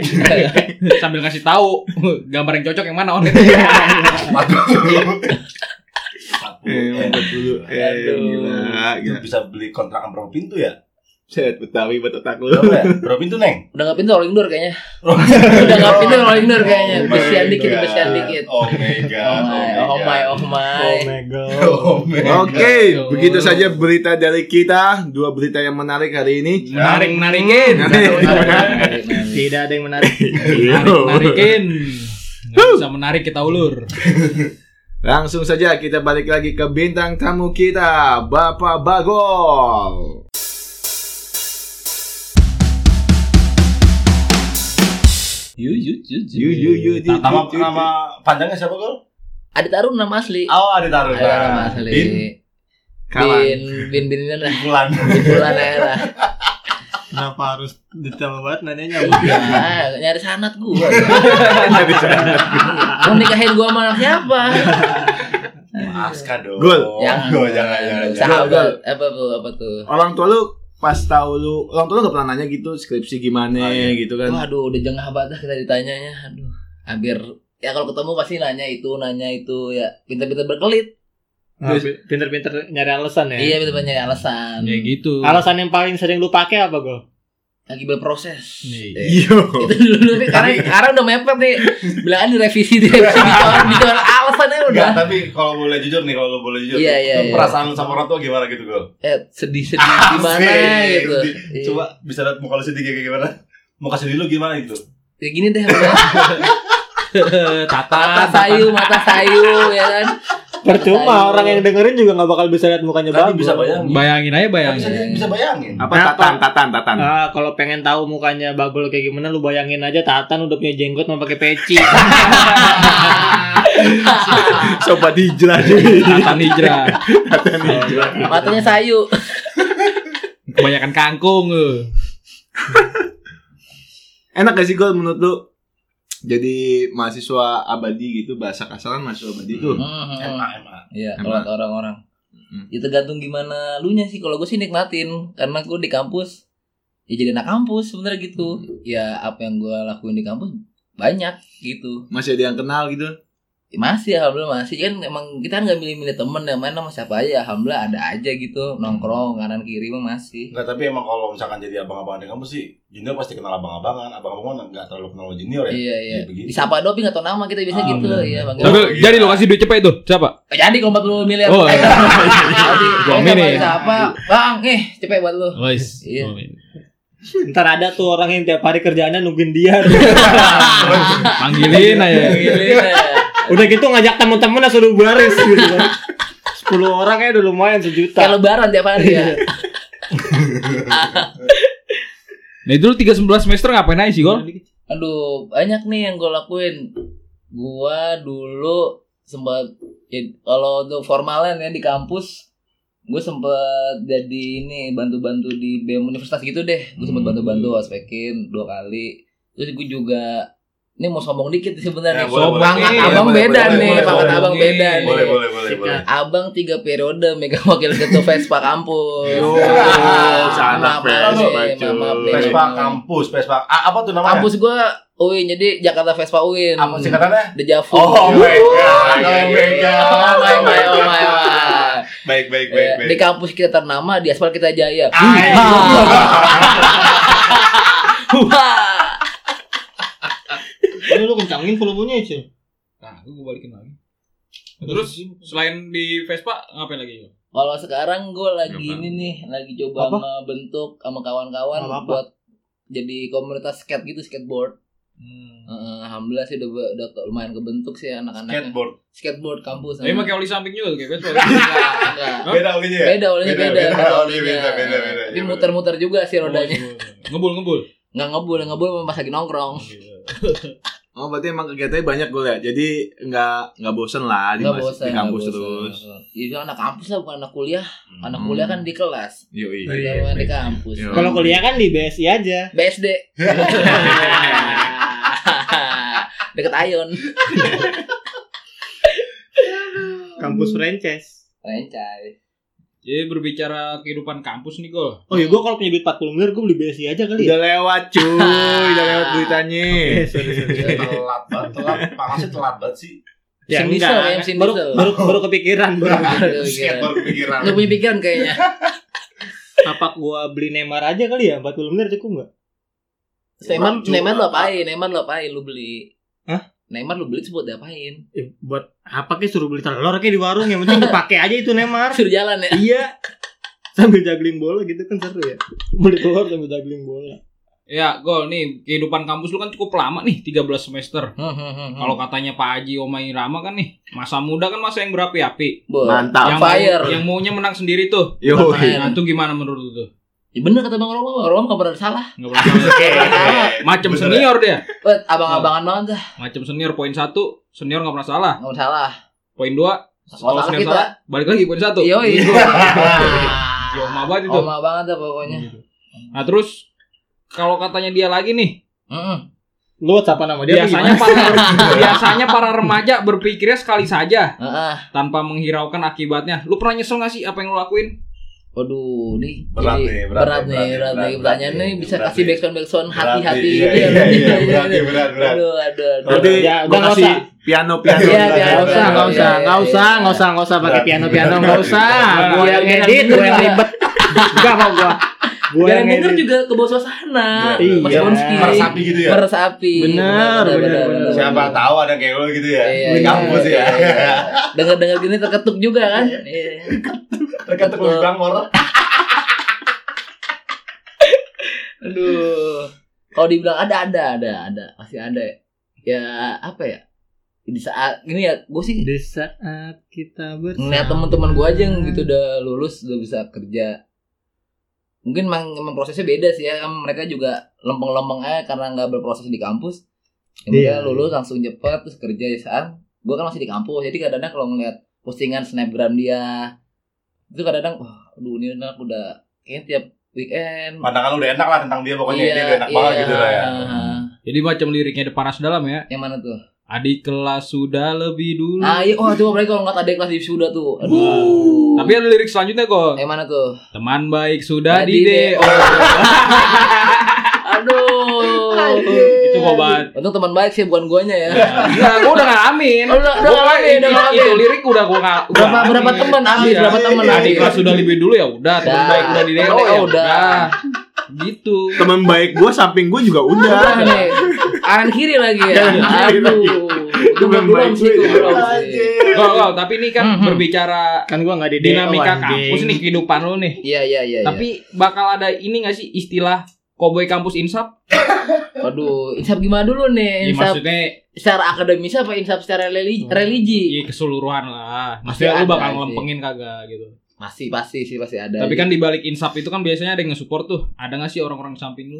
Speaker 2: sambil ngasih tahu gambar yang cocok yang mana on.
Speaker 1: Eh, 40 M gila,
Speaker 5: Lu
Speaker 1: gila.
Speaker 5: bisa beli kontrakan berapa pintu ya?
Speaker 1: Set Betawi buat otak lu.
Speaker 5: Berapa, ya? berapa pintu, Neng?
Speaker 4: Udah nggak pintu rolling door kayaknya. Udah nggak pintu rolling door kayaknya.
Speaker 5: Oh my
Speaker 4: Kesian dikit,
Speaker 5: God.
Speaker 4: kesian dikit.
Speaker 5: Oh my god.
Speaker 4: Oh my, oh my, oh my.
Speaker 5: Oh my god.
Speaker 1: Oke, begitu saja berita dari kita, dua berita yang menarik hari ini.
Speaker 2: Menarik
Speaker 5: Ya.
Speaker 2: menarikin.
Speaker 3: Tidak ada yang menarik.
Speaker 2: Menarik menarikin. Gak bisa menarik kita ulur.
Speaker 1: Langsung saja kita balik lagi ke bintang tamu kita, Bapak Bagol.
Speaker 2: Yu yu yu
Speaker 1: Yu yu yu yu.
Speaker 5: Nama,
Speaker 1: yu, yu.
Speaker 5: nama panjangnya siapa, Gol?
Speaker 4: Ada Tarun nama asli.
Speaker 5: Oh, Adi Taruna.
Speaker 4: Ada nama asli.
Speaker 5: Bin
Speaker 1: Kalan.
Speaker 4: Bin, bin, bin, bin, lah.
Speaker 5: Bulan.
Speaker 4: Bulan era.
Speaker 3: Kenapa harus detail banget nanyanya?
Speaker 4: Nah, nyari sanat gua. Mau nikahin gua sama anak siapa?
Speaker 5: Aska dong.
Speaker 1: Gol.
Speaker 4: Oh, Jangan.
Speaker 5: Gol, jangan, jangan.
Speaker 4: Saham
Speaker 5: jangan.
Speaker 4: gol. Apa tuh? Apa tuh?
Speaker 1: Orang tua lu pas tahu lu, orang tua lu gak pernah nanya gitu skripsi gimana
Speaker 5: Oh, iya.
Speaker 1: gitu
Speaker 4: Wah,
Speaker 1: kan.
Speaker 4: aduh, udah jengah banget dah kita ditanyanya. Aduh, hampir ya kalau ketemu pasti nanya itu, nanya itu ya pintar-pintar berkelit.
Speaker 3: Nah, Pinter-pinter nyari alasan ya.
Speaker 4: Iya, pintar banyak alasan.
Speaker 3: Iya.
Speaker 2: Ya gitu.
Speaker 3: Alasan yang paling sering lu pakai apa, Gol?
Speaker 4: Lagi berproses.
Speaker 2: Nih.
Speaker 3: Iya.
Speaker 4: Eh,
Speaker 1: Yo.
Speaker 4: Itu dulu nih karena karena udah mepet nih. Bilangan direvisi direvisi dicoret dicoret alasannya udah.
Speaker 5: Enggak, tapi kalau boleh jujur nih, kalau lu boleh jujur.
Speaker 4: Iya,
Speaker 5: tuh,
Speaker 4: iya,
Speaker 5: tuh
Speaker 4: iya.
Speaker 5: Perasaan lu sama orang tua gimana gitu, Gol?
Speaker 4: Eh, sedih-sedih gimana
Speaker 5: Asik.
Speaker 4: gitu. Iya.
Speaker 5: Coba bisa lihat muka lu sedih kayak gimana? Muka sedih lu gimana gitu?
Speaker 4: Ya gini deh, udah.
Speaker 2: Tata
Speaker 4: mata sayu, mata sayu ya kan. Ayo.
Speaker 3: Percuma orang yang dengerin juga nggak bakal bisa lihat
Speaker 4: Iya,
Speaker 3: mukanya Bagol.
Speaker 5: Tapi bisa bayangin.
Speaker 2: Bayangin aja
Speaker 5: Tapi bisa,
Speaker 2: bayangin.
Speaker 5: bisa bayangin.
Speaker 1: Apa
Speaker 3: Kenapa?
Speaker 1: tatan tatan tatan.
Speaker 3: Ah, kalau pengen tahu mukanya Bagol kayak gimana lu bayangin aja Tatan udah punya jenggot mau pakai peci.
Speaker 1: Coba dijelasin.
Speaker 2: Tatan hijrah.
Speaker 4: Matanya sayu.
Speaker 2: Kebanyakan kangkung. eh.
Speaker 1: Enak gak sih gol menurut lu? Jadi mahasiswa abadi gitu bahasa kasar kan mahasiswa abadi tuh.
Speaker 4: Hmm.
Speaker 5: MA, MA.
Speaker 4: Iya,
Speaker 1: Emang.
Speaker 4: kalau kata orang-orang.
Speaker 1: Mm.
Speaker 4: Ya tergantung gimana lu nya sih. Kalau gue sih nikmatin karena gue di kampus ya jadi anak kampus sebenarnya gitu. Ya apa yang gue lakuin di kampus banyak gitu.
Speaker 1: Masih ada yang kenal gitu.
Speaker 4: Ya, masih alhamdulillah masih kan emang kita kan nggak milih-milih temen yang main sama siapa aja alhamdulillah ada aja gitu nongkrong kanan kiri mah masih
Speaker 5: Enggak, tapi emang kalau misalkan jadi abang-abangan di kampus sih, junior pasti kenal abang-abangan. Abang-abangan enggak terlalu kenal junior ya.
Speaker 4: iya iya
Speaker 5: Jadi begitu.
Speaker 4: disapa doang tapi nggak tau nama kita biasanya
Speaker 5: Ah,
Speaker 4: gitu
Speaker 5: benar.
Speaker 4: iya
Speaker 5: Oh,
Speaker 2: Tapi
Speaker 4: panggil
Speaker 5: iya.
Speaker 2: jadi lo kasih duit cepet itu. Siapa?
Speaker 4: "Eh, jadi kalau 40 miliar
Speaker 2: Oh,
Speaker 4: Eh,
Speaker 2: iya.
Speaker 4: jadi,
Speaker 2: Gua
Speaker 4: eh,
Speaker 2: milih.
Speaker 4: disapa, bang eh cepet buat lu
Speaker 2: Wes.
Speaker 4: Iya.
Speaker 3: Ntar ada tuh orang yang tiap hari kerjaannya nungguin dia.
Speaker 2: Panggilin
Speaker 5: Iya,
Speaker 2: aja.
Speaker 4: Gilin, eh.
Speaker 3: Udah gitu ngajak temen-temennya suruh baris gitu kan. 10 orang ya udah lumayan sejuta.
Speaker 4: Kayak lebaran tiap hari
Speaker 5: Iya.
Speaker 4: ya.
Speaker 2: Nah itu lu 3 semester ngapain aja sih gol?
Speaker 4: Aduh, banyak nih yang gue lakuin. Gua dulu sempat ya, kalau untuk formalan ya di kampus gue sempet jadi ini bantu-bantu di BEM universitas gitu deh gue sempet
Speaker 5: Hmm.
Speaker 4: bantu-bantu ospekin dua kali terus gue juga ini Ini mau sombong dikit sebenarnya.
Speaker 5: Ya,
Speaker 4: Sombong.
Speaker 5: boleh, boleh,
Speaker 4: Pangkat
Speaker 5: boleh,
Speaker 4: abang
Speaker 5: boleh,
Speaker 4: beda
Speaker 5: boleh,
Speaker 4: nih,
Speaker 5: boleh,
Speaker 4: pangkat
Speaker 5: boleh,
Speaker 4: abang
Speaker 2: boleh.
Speaker 4: beda nih.
Speaker 5: Boleh, boleh,
Speaker 4: Iya.
Speaker 5: boleh, boleh.
Speaker 4: Abang tiga periode megang wakil ketua Vespa kampus.
Speaker 5: Yo, salah
Speaker 4: Maaf nih,
Speaker 5: Vespa, cuy.
Speaker 4: maaf nih.
Speaker 5: Vespa kampus, Vespa. Ah, apa tuh namanya?
Speaker 4: Kampus gua UIN, jadi Jakarta Vespa UIN.
Speaker 5: Apa singkatannya?
Speaker 4: The Javu.
Speaker 5: Oh my god. Oh my
Speaker 4: Oh
Speaker 5: god.
Speaker 4: my god, oh my god.
Speaker 5: Baik, baik, baik,
Speaker 4: Eh, Di
Speaker 5: baik.
Speaker 4: kampus kita ternama, di aspal kita jaya.
Speaker 5: Ay. Ah.
Speaker 3: Lu lu kencangin volumenya aja.
Speaker 2: Nah, gue balikin lagi. Terus selain di Vespa ngapain lagi?
Speaker 4: Kalau sekarang gue lagi
Speaker 1: Apa?
Speaker 4: ini nih, lagi coba
Speaker 3: Apa?
Speaker 4: ngebentuk sama kawan-kawan
Speaker 3: Apa apa?
Speaker 4: buat jadi komunitas skate gitu, skateboard.
Speaker 2: Hmm.
Speaker 4: Eh, Alhamdulillah sih udah, udah lumayan kebentuk sih anak-anaknya.
Speaker 5: Skateboard.
Speaker 4: Skateboard kampus.
Speaker 2: Tapi
Speaker 4: sama-
Speaker 2: pakai oli samping juga kayak Vespa. Iya.
Speaker 4: Enggak, enggak.
Speaker 5: Beda olinya ya?
Speaker 4: Beda, olehnya
Speaker 5: Beda,
Speaker 4: beda.
Speaker 5: beda,
Speaker 4: beda
Speaker 5: olehnya beda, beda, beda, Oh.
Speaker 4: Tapi
Speaker 5: iya,
Speaker 4: muter-muter juga sih rodanya.
Speaker 2: Oh, iya. Ngebul ngebul.
Speaker 4: Enggak ngebul, ngebul memang pas lagi nongkrong.
Speaker 1: Oh berarti emang kegiatannya banyak gue ya. Jadi nggak nggak bosen lah di,
Speaker 4: Enggak
Speaker 1: mas-
Speaker 4: bosan.
Speaker 1: di kampus
Speaker 4: nggak bosan.
Speaker 1: terus.
Speaker 4: Itu anak kampus lah, bukan anak kuliah. Anak
Speaker 1: Hmm.
Speaker 4: kuliah kan di kelas.
Speaker 1: Yoi.
Speaker 3: Iya,
Speaker 4: Kita mah di kampus.
Speaker 1: Iya.
Speaker 3: Kalau kuliah kan di BSI aja.
Speaker 4: BSD. Deket Ayon.
Speaker 3: Kampus franchise.
Speaker 4: Rencai.
Speaker 2: Jadi berbicara kehidupan kampus nih gol.
Speaker 3: Oh ya, gue kalau punya duit 40 miliar, gue beli BSI aja kali ya.
Speaker 1: Udah lewat cuy,
Speaker 2: Oh, iya.
Speaker 1: udah lewat beritanya.
Speaker 3: Eh, sorry, sorry.
Speaker 5: Telat banget, telat. Pangasnya telat banget sih.
Speaker 3: Ya,
Speaker 4: Mesin diesel, ya,
Speaker 3: enggak.
Speaker 4: mesin
Speaker 3: Baru,
Speaker 4: diesel.
Speaker 3: baru, baru kepikiran. Bro.
Speaker 4: Aduh, gila.
Speaker 5: Skateboard pikiran.
Speaker 4: Lu punya pikiran kayaknya.
Speaker 3: Apa gue beli Neymar aja kali ya? 40 miliar cukup nggak?
Speaker 4: Neymar,
Speaker 5: Cuma-
Speaker 4: Neymar lu apain? Neymar lu apain? Lu beli.
Speaker 3: Hah?
Speaker 4: Neymar lu beli itu buat diapain?
Speaker 3: Ya, buat apa kek suruh beli telur kek di warung yang penting dipakai aja itu Neymar.
Speaker 4: Suruh jalan ya.
Speaker 3: iya. Sambil juggling bola gitu kan seru ya. Beli telur sambil juggling bola.
Speaker 2: Ya, gol nih kehidupan kampus lu kan cukup lama nih, 13 semester. Kalau
Speaker 4: Hmm, Kalau
Speaker 2: katanya Pak Haji Omai Rama kan nih, masa muda kan masa yang berapi-api.
Speaker 1: Mantap.
Speaker 2: Yang
Speaker 4: Ah, Fire.
Speaker 2: Mau, yang maunya menang sendiri tuh.
Speaker 1: Yoi.
Speaker 4: Fire.
Speaker 2: Nah, itu gimana menurut lu tuh?
Speaker 4: Ya bener kata Bang Roma, Bang Roma gak pernah salah.
Speaker 2: Nggak pernah- Macam
Speaker 5: Bener ya?
Speaker 2: senior dia.
Speaker 4: Wet, abang-abangan banget dah.
Speaker 2: Macam senior poin satu, senior nggak pernah salah.
Speaker 4: Gak salah.
Speaker 2: Poin dua,
Speaker 4: Kalau
Speaker 2: kalau
Speaker 4: salah
Speaker 2: senior
Speaker 4: kita.
Speaker 2: salah, balik lagi poin satu.
Speaker 4: Iya, iya.
Speaker 2: Oma banget itu.
Speaker 4: Oma banget dah pokoknya.
Speaker 2: Nah terus kalau katanya dia lagi nih,
Speaker 4: Mm-mm.
Speaker 3: Lu WhatsApp nama dia? apa
Speaker 2: biasanya para biasanya para remaja berpikirnya sekali saja
Speaker 4: Heeh.
Speaker 2: tanpa menghiraukan akibatnya. Lu pernah nyesel gak sih apa yang lu lakuin?
Speaker 4: Waduh, nih jadi
Speaker 5: Berat nih, berat
Speaker 4: berat
Speaker 5: nih,
Speaker 4: nih, berat
Speaker 5: berat nih,
Speaker 4: nih.
Speaker 5: berat
Speaker 4: Pertanyaan
Speaker 5: nih,
Speaker 4: nih bisa
Speaker 5: berat
Speaker 4: kasih
Speaker 5: nih.
Speaker 4: backsound backsound hati-hati.
Speaker 5: Iya,
Speaker 4: Iya,
Speaker 5: iya, iya,
Speaker 4: iya,
Speaker 5: berarti,
Speaker 4: iya.
Speaker 5: berat, berat.
Speaker 4: Aduh, aduh, aduh.
Speaker 1: Berarti
Speaker 3: Ya, udah,
Speaker 1: gue
Speaker 3: nggak
Speaker 1: kasih
Speaker 3: usah.
Speaker 1: piano piano.
Speaker 4: Iya, biar
Speaker 5: Nggak
Speaker 3: Gak usah,
Speaker 4: Iya,
Speaker 3: gak usah,
Speaker 4: iya,
Speaker 3: gak
Speaker 4: iya.
Speaker 3: usah, gak usah, gak usah pakai piano-piano, gak usah. Gua yang edit, gua yang ribet. Gak mau gua. Gua
Speaker 4: Biar
Speaker 3: yang
Speaker 4: yang denger
Speaker 3: edit.
Speaker 4: juga ke bawah suasana. Iya.
Speaker 5: Iya.
Speaker 4: Mas
Speaker 3: Iya.
Speaker 4: Bonski.
Speaker 5: Meresapi gitu ya.
Speaker 4: Meresapi.
Speaker 3: Bener, bener, bener.
Speaker 5: Siapa tahu ada kayak lo gitu ya.
Speaker 4: Iya,
Speaker 5: Di
Speaker 4: iya,
Speaker 5: kampus
Speaker 4: iya,
Speaker 5: ya.
Speaker 4: iya. Dengar-dengar gini terketuk juga kan? Iya.
Speaker 5: Terketuk lebih bangor.
Speaker 4: Aduh. Kalau dibilang ada ada ada ada pasti ada ya. Ya apa ya? Di saat ini ya gue sih
Speaker 3: Di saat kita bersama.
Speaker 4: ngeliat teman-teman gue aja yang gitu udah lulus udah bisa kerja. Mungkin memang, memang prosesnya beda sih ya. Kan mereka juga lempeng-lempeng aja karena nggak berproses di kampus. Ya, mereka
Speaker 3: Iya.
Speaker 4: lulus langsung cepet terus kerja ya saat gue kan masih di kampus jadi kadang-kadang kalau ngeliat postingan snapgram dia itu kadang-kadang wah aduh ini anak udah kayaknya tiap weekend
Speaker 5: Pandangan lu udah enak lah tentang dia pokoknya dia udah enak
Speaker 4: iya.
Speaker 5: banget gitu lah ya.
Speaker 2: Jadi macam liriknya The Paras dalam ya.
Speaker 4: Yang mana tuh?
Speaker 2: Adik kelas sudah lebih dulu.
Speaker 4: Ah, iya, oh coba mereka kalau nggak ada kelas divisi udah tuh. Aduh.
Speaker 2: Wuh. Tapi ada lirik selanjutnya kok.
Speaker 4: Yang mana tuh?
Speaker 2: Teman baik sudah
Speaker 4: Tadi
Speaker 2: di
Speaker 4: deh.
Speaker 2: DO.
Speaker 4: Aduh.
Speaker 2: Itu obat.
Speaker 4: Untung teman baik sih bukan guanya ya.
Speaker 2: Iya, gua udah ngalamin.
Speaker 4: Oh, udah- udah
Speaker 2: Gua
Speaker 4: ngalamin,
Speaker 2: kayak
Speaker 4: udah
Speaker 2: itu-
Speaker 4: ngalamin.
Speaker 2: Itu lirik udah gua nggak. gua
Speaker 4: Berapa
Speaker 2: ngalamin.
Speaker 4: berapa teman habis,
Speaker 2: Iya.
Speaker 4: berapa teman
Speaker 2: Adik
Speaker 4: habis.
Speaker 2: kelas sudah lebih dulu ya udah. Teman
Speaker 4: Dah.
Speaker 2: baik udah di DO
Speaker 4: Teman
Speaker 2: ya
Speaker 4: Oh, udah.
Speaker 2: udah. Gitu.
Speaker 1: Temen baik gue samping gue
Speaker 3: Iya,
Speaker 1: juga udah.
Speaker 4: Udah nih. Kanan kiri lagi ya.
Speaker 1: Kanan kiri
Speaker 4: Aduh.
Speaker 1: lagi.
Speaker 4: Itu belum belum sih, itu belum sih.
Speaker 2: Gol, gol. Tapi ini kan
Speaker 4: Hmm, hmm.
Speaker 2: berbicara
Speaker 3: Kan gua gak di DO,
Speaker 2: dinamika
Speaker 3: anjing.
Speaker 2: kampus nih kehidupan lu nih.
Speaker 4: Iya, iya, iya. iya.
Speaker 2: Tapi bakal ada ini gak sih istilah Koboi kampus insap?
Speaker 4: aduh, insaf gimana dulu
Speaker 2: Ya,
Speaker 4: nih? Insaf
Speaker 2: maksudnya
Speaker 4: secara akademis apa insaf secara religi? religi?
Speaker 2: ya keseluruhan lah. Maksudnya
Speaker 4: Pasti
Speaker 2: lu
Speaker 4: ada
Speaker 2: bakal
Speaker 4: sih. Iya.
Speaker 2: ngelempengin kagak gitu.
Speaker 4: Masih pasti sih pasti ada.
Speaker 2: Tapi kan di balik insap itu kan biasanya ada yang nge-support tuh. Ada gak sih orang-orang samping lu?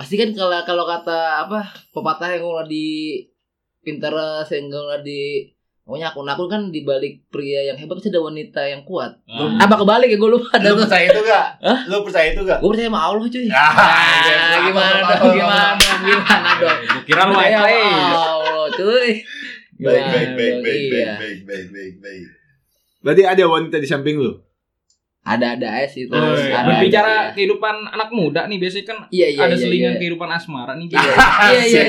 Speaker 4: pasti kan kalau kalau kata apa pepatah yang ulah di Pinterest yang ulah di Pokoknya akun-akun kan di balik pria yang hebat pasti ada wanita yang kuat.
Speaker 2: Ah.
Speaker 4: Apa kebalik ya gue lupa ada
Speaker 5: Lu
Speaker 4: tuh.
Speaker 5: percaya itu gak?
Speaker 4: Hah?
Speaker 5: Lu percaya itu gak?
Speaker 4: Gue percaya sama Allah cuy.
Speaker 5: Ah,
Speaker 4: Ah,
Speaker 5: iya,
Speaker 4: gimana
Speaker 5: apa, apa,
Speaker 4: dong?
Speaker 5: apa,
Speaker 4: Gimana
Speaker 5: apa.
Speaker 4: dong? Gimana dong?
Speaker 2: ya, Gua kira lu eh. white
Speaker 4: Percaya sama
Speaker 2: race.
Speaker 4: Allah cuy.
Speaker 5: Baik,
Speaker 4: Gimana
Speaker 5: baik, baik,
Speaker 4: dong?
Speaker 5: baik,
Speaker 4: Iya.
Speaker 5: baik, baik, baik, baik, baik.
Speaker 1: Berarti ada wanita di samping lu.
Speaker 4: Ada-ada aja sih terus.
Speaker 2: Oh, iya.
Speaker 4: ada-ada
Speaker 2: Berbicara
Speaker 4: aja.
Speaker 2: kehidupan anak muda nih biasanya kan
Speaker 4: Iya iya
Speaker 2: ada
Speaker 4: iya,
Speaker 2: selingan
Speaker 4: iya.
Speaker 2: kehidupan asmara nih.
Speaker 4: Iya iya iya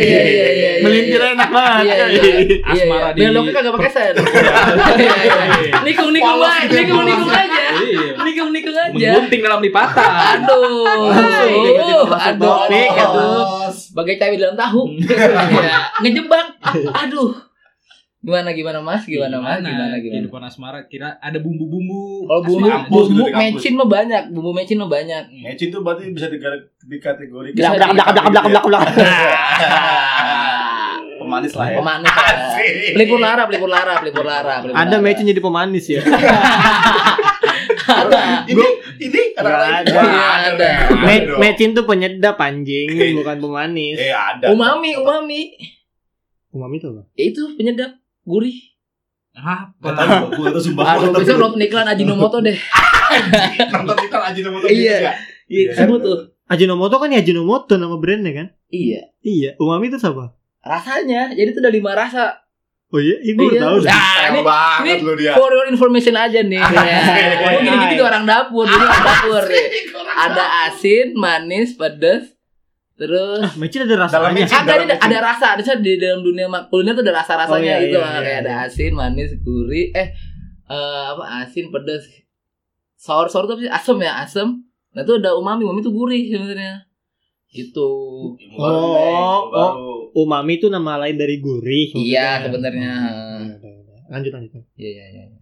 Speaker 4: iya iya.
Speaker 1: Melintir enak banget.
Speaker 4: Iya, iya. Iya,
Speaker 2: Asmara
Speaker 4: iya.
Speaker 2: di-
Speaker 4: Beloknya kagak pakai sen. Iya, iya. Nikung nikung
Speaker 2: Polos
Speaker 4: aja,
Speaker 2: gitu,
Speaker 4: nikung nikung
Speaker 2: polos.
Speaker 4: aja.
Speaker 2: Iya.
Speaker 4: Nikung nikung aja.
Speaker 2: Menggunting dalam lipatan.
Speaker 4: Aduh, aduh, aduh,
Speaker 2: topik,
Speaker 4: aduh.
Speaker 5: Bos.
Speaker 4: Bagai cabai dalam tahu. Iya, ngejebak. Aduh. Gimana gimana Mas? Gimana Mas? Gimana gimana?
Speaker 2: Kehidupan asmara kira ada bumbu-bumbu.
Speaker 4: Kalau bumbu
Speaker 2: asmara.
Speaker 5: kampus
Speaker 4: bumbu
Speaker 5: gitu di kampus.
Speaker 4: mecin mah banyak, bumbu mecin mah banyak.
Speaker 5: Mecin tuh berarti bisa digar- dikategorikan
Speaker 4: Bisa gitu.
Speaker 5: Belak, belak, belak, belak, belak, belak. Pemanis lah ya.
Speaker 4: Pemanis.
Speaker 5: Asik.
Speaker 4: Pelipur lara, pelipur lara, pelipur lara, pelipur
Speaker 3: Ada
Speaker 4: lara.
Speaker 3: matchnya jadi pemanis ya.
Speaker 4: Ada.
Speaker 5: Ini, ini ada
Speaker 3: Nggak
Speaker 5: lagi.
Speaker 3: ada.
Speaker 5: Nggak ada.
Speaker 3: Me-
Speaker 5: Ada dong.
Speaker 3: Mecin tuh penyedap anjing, bukan pemanis.
Speaker 5: Eh ada.
Speaker 4: Umami, umami.
Speaker 3: Umami tuh apa?
Speaker 4: Ya itu penyedap, gurih.
Speaker 2: Apa?
Speaker 5: Gak tahu gue atau sumpah.
Speaker 4: Aduh, besok nonton iklan Ajinomoto deh.
Speaker 5: nonton kita aja nonton kita.
Speaker 4: Iya.
Speaker 5: ya.
Speaker 4: Iya, semua tuh.
Speaker 3: Ajinomoto kan ya Ajinomoto nama brandnya kan?
Speaker 4: Iya.
Speaker 3: Iya, umami itu apa?
Speaker 4: Rasanya, jadi itu ada lima rasa.
Speaker 3: Oh iya, ibu
Speaker 4: Iya.
Speaker 3: tahu deh.
Speaker 4: Ah,
Speaker 5: Sayang
Speaker 4: ini-
Speaker 5: banget
Speaker 4: ini-
Speaker 5: lu dia.
Speaker 4: For your information aja nih.
Speaker 3: Iya,
Speaker 4: Ya. Ini gitu orang dapur, ini orang dapur. ya. Ada asin, manis, pedes, terus
Speaker 3: Ah, Mecin ada
Speaker 5: Dalam
Speaker 3: rasanya.
Speaker 5: mecin,
Speaker 4: ada
Speaker 5: dalam
Speaker 4: ada,
Speaker 5: mecin.
Speaker 4: ada rasa, ada rasa di dalam dunia mak- kuliner tuh ada rasa rasanya
Speaker 3: Oh, iya,
Speaker 4: gitu,
Speaker 3: iya,
Speaker 4: kayak
Speaker 3: iya,
Speaker 4: ada asin, manis, gurih, eh eh, apa asin, pedes, sour sour tuh apa sih? asem ya asem. Nah itu ada umami, umami tuh gurih sebenarnya. Gitu.
Speaker 5: Ilmu baru,
Speaker 3: Oh,
Speaker 5: Neng. Ilmu
Speaker 3: oh.
Speaker 5: baru.
Speaker 3: Umami itu nama lain dari gurih. maksudnya.
Speaker 4: Iya, sebenarnya.
Speaker 3: Iya, iya, iya. Lanjut lanjut.
Speaker 4: Iya iya iya.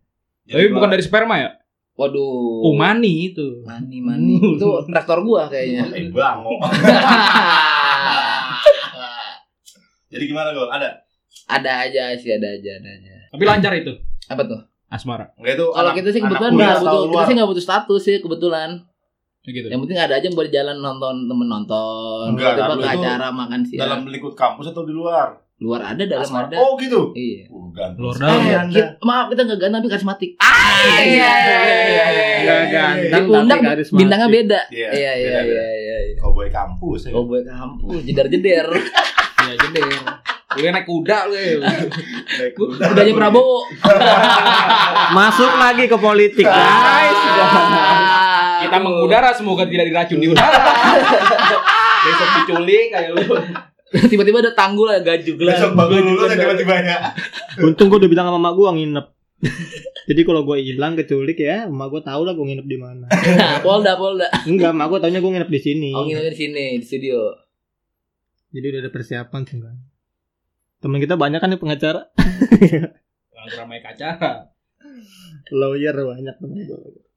Speaker 2: Tapi bukan dari sperma ya?
Speaker 4: Waduh.
Speaker 5: Oh.
Speaker 2: Umani itu.
Speaker 4: Mani mani. Itu traktor gua kayaknya.
Speaker 5: Eh, bango. Jadi gimana gol? Ada?
Speaker 4: ada aja sih, ada aja, ada aja.
Speaker 2: Tapi lancar itu
Speaker 4: Apa tuh?
Speaker 2: asmara.
Speaker 5: Enggak itu.
Speaker 4: Kalau
Speaker 5: anak-
Speaker 4: kita sih
Speaker 5: anak
Speaker 4: kebetulan
Speaker 5: kuliah
Speaker 4: nggak
Speaker 5: atau
Speaker 4: butuh, kita
Speaker 5: luar? Iya.
Speaker 4: sih nggak butuh status sih kebetulan.
Speaker 2: Ya Gitu.
Speaker 4: Yang penting ada aja buat jalan nonton temen nonton,
Speaker 5: Enggak,
Speaker 4: tiba
Speaker 5: kalau
Speaker 4: ke
Speaker 5: itu
Speaker 4: acara makan siang.
Speaker 5: dalam lingkup kampus atau di luar?
Speaker 4: luar ada, dalam
Speaker 5: Asmara.
Speaker 4: ada.
Speaker 5: Oh gitu.
Speaker 4: Iya.
Speaker 5: Uh, ganteng.
Speaker 2: Luar
Speaker 5: sekali
Speaker 2: dalam.
Speaker 5: Anda.
Speaker 4: Ki- maaf kita nggak ganteng tapi karismatik. Ah,
Speaker 5: iya, iya, iya.
Speaker 3: Enggak ganteng
Speaker 4: Diundang
Speaker 3: tapi karismatik.
Speaker 4: bintangnya beda.
Speaker 5: Iya,
Speaker 4: Iya iya
Speaker 5: beda-beda.
Speaker 4: iya iya. iya.
Speaker 5: Cowboy kampus ya.
Speaker 4: Oh buat kampus jedar jeder.
Speaker 2: Ya aja deh. Lu naik kuda lu.
Speaker 5: Baik, udah.
Speaker 4: Udahnya Prabowo.
Speaker 3: Masuk lagi ke politik,
Speaker 5: Ah.
Speaker 3: guys.
Speaker 4: Ah.
Speaker 2: Kita mengudara semoga tidak diracun di udara. Besok diculik kayak lu.
Speaker 4: Tiba-tiba ada tanggul lah gajuk lah.
Speaker 5: Besok bangun lulus yang tiba-tiba ya.
Speaker 3: Untung gue udah bilang sama emak gue nginep. Jadi kalau gue hilang keculik ya, emak gue tahu lah gue nginep di mana.
Speaker 4: Nah, Polda Polda.
Speaker 3: Enggak, emak gue taunya gue nginep di
Speaker 5: Hmm.
Speaker 3: sini.
Speaker 4: Oh nginep di sini di studio.
Speaker 3: Jadi udah ada persiapan sih kan. Temen kita banyak kan yang pengacara,
Speaker 2: Orang ramai kacara.
Speaker 3: lawyer banyak temen gue.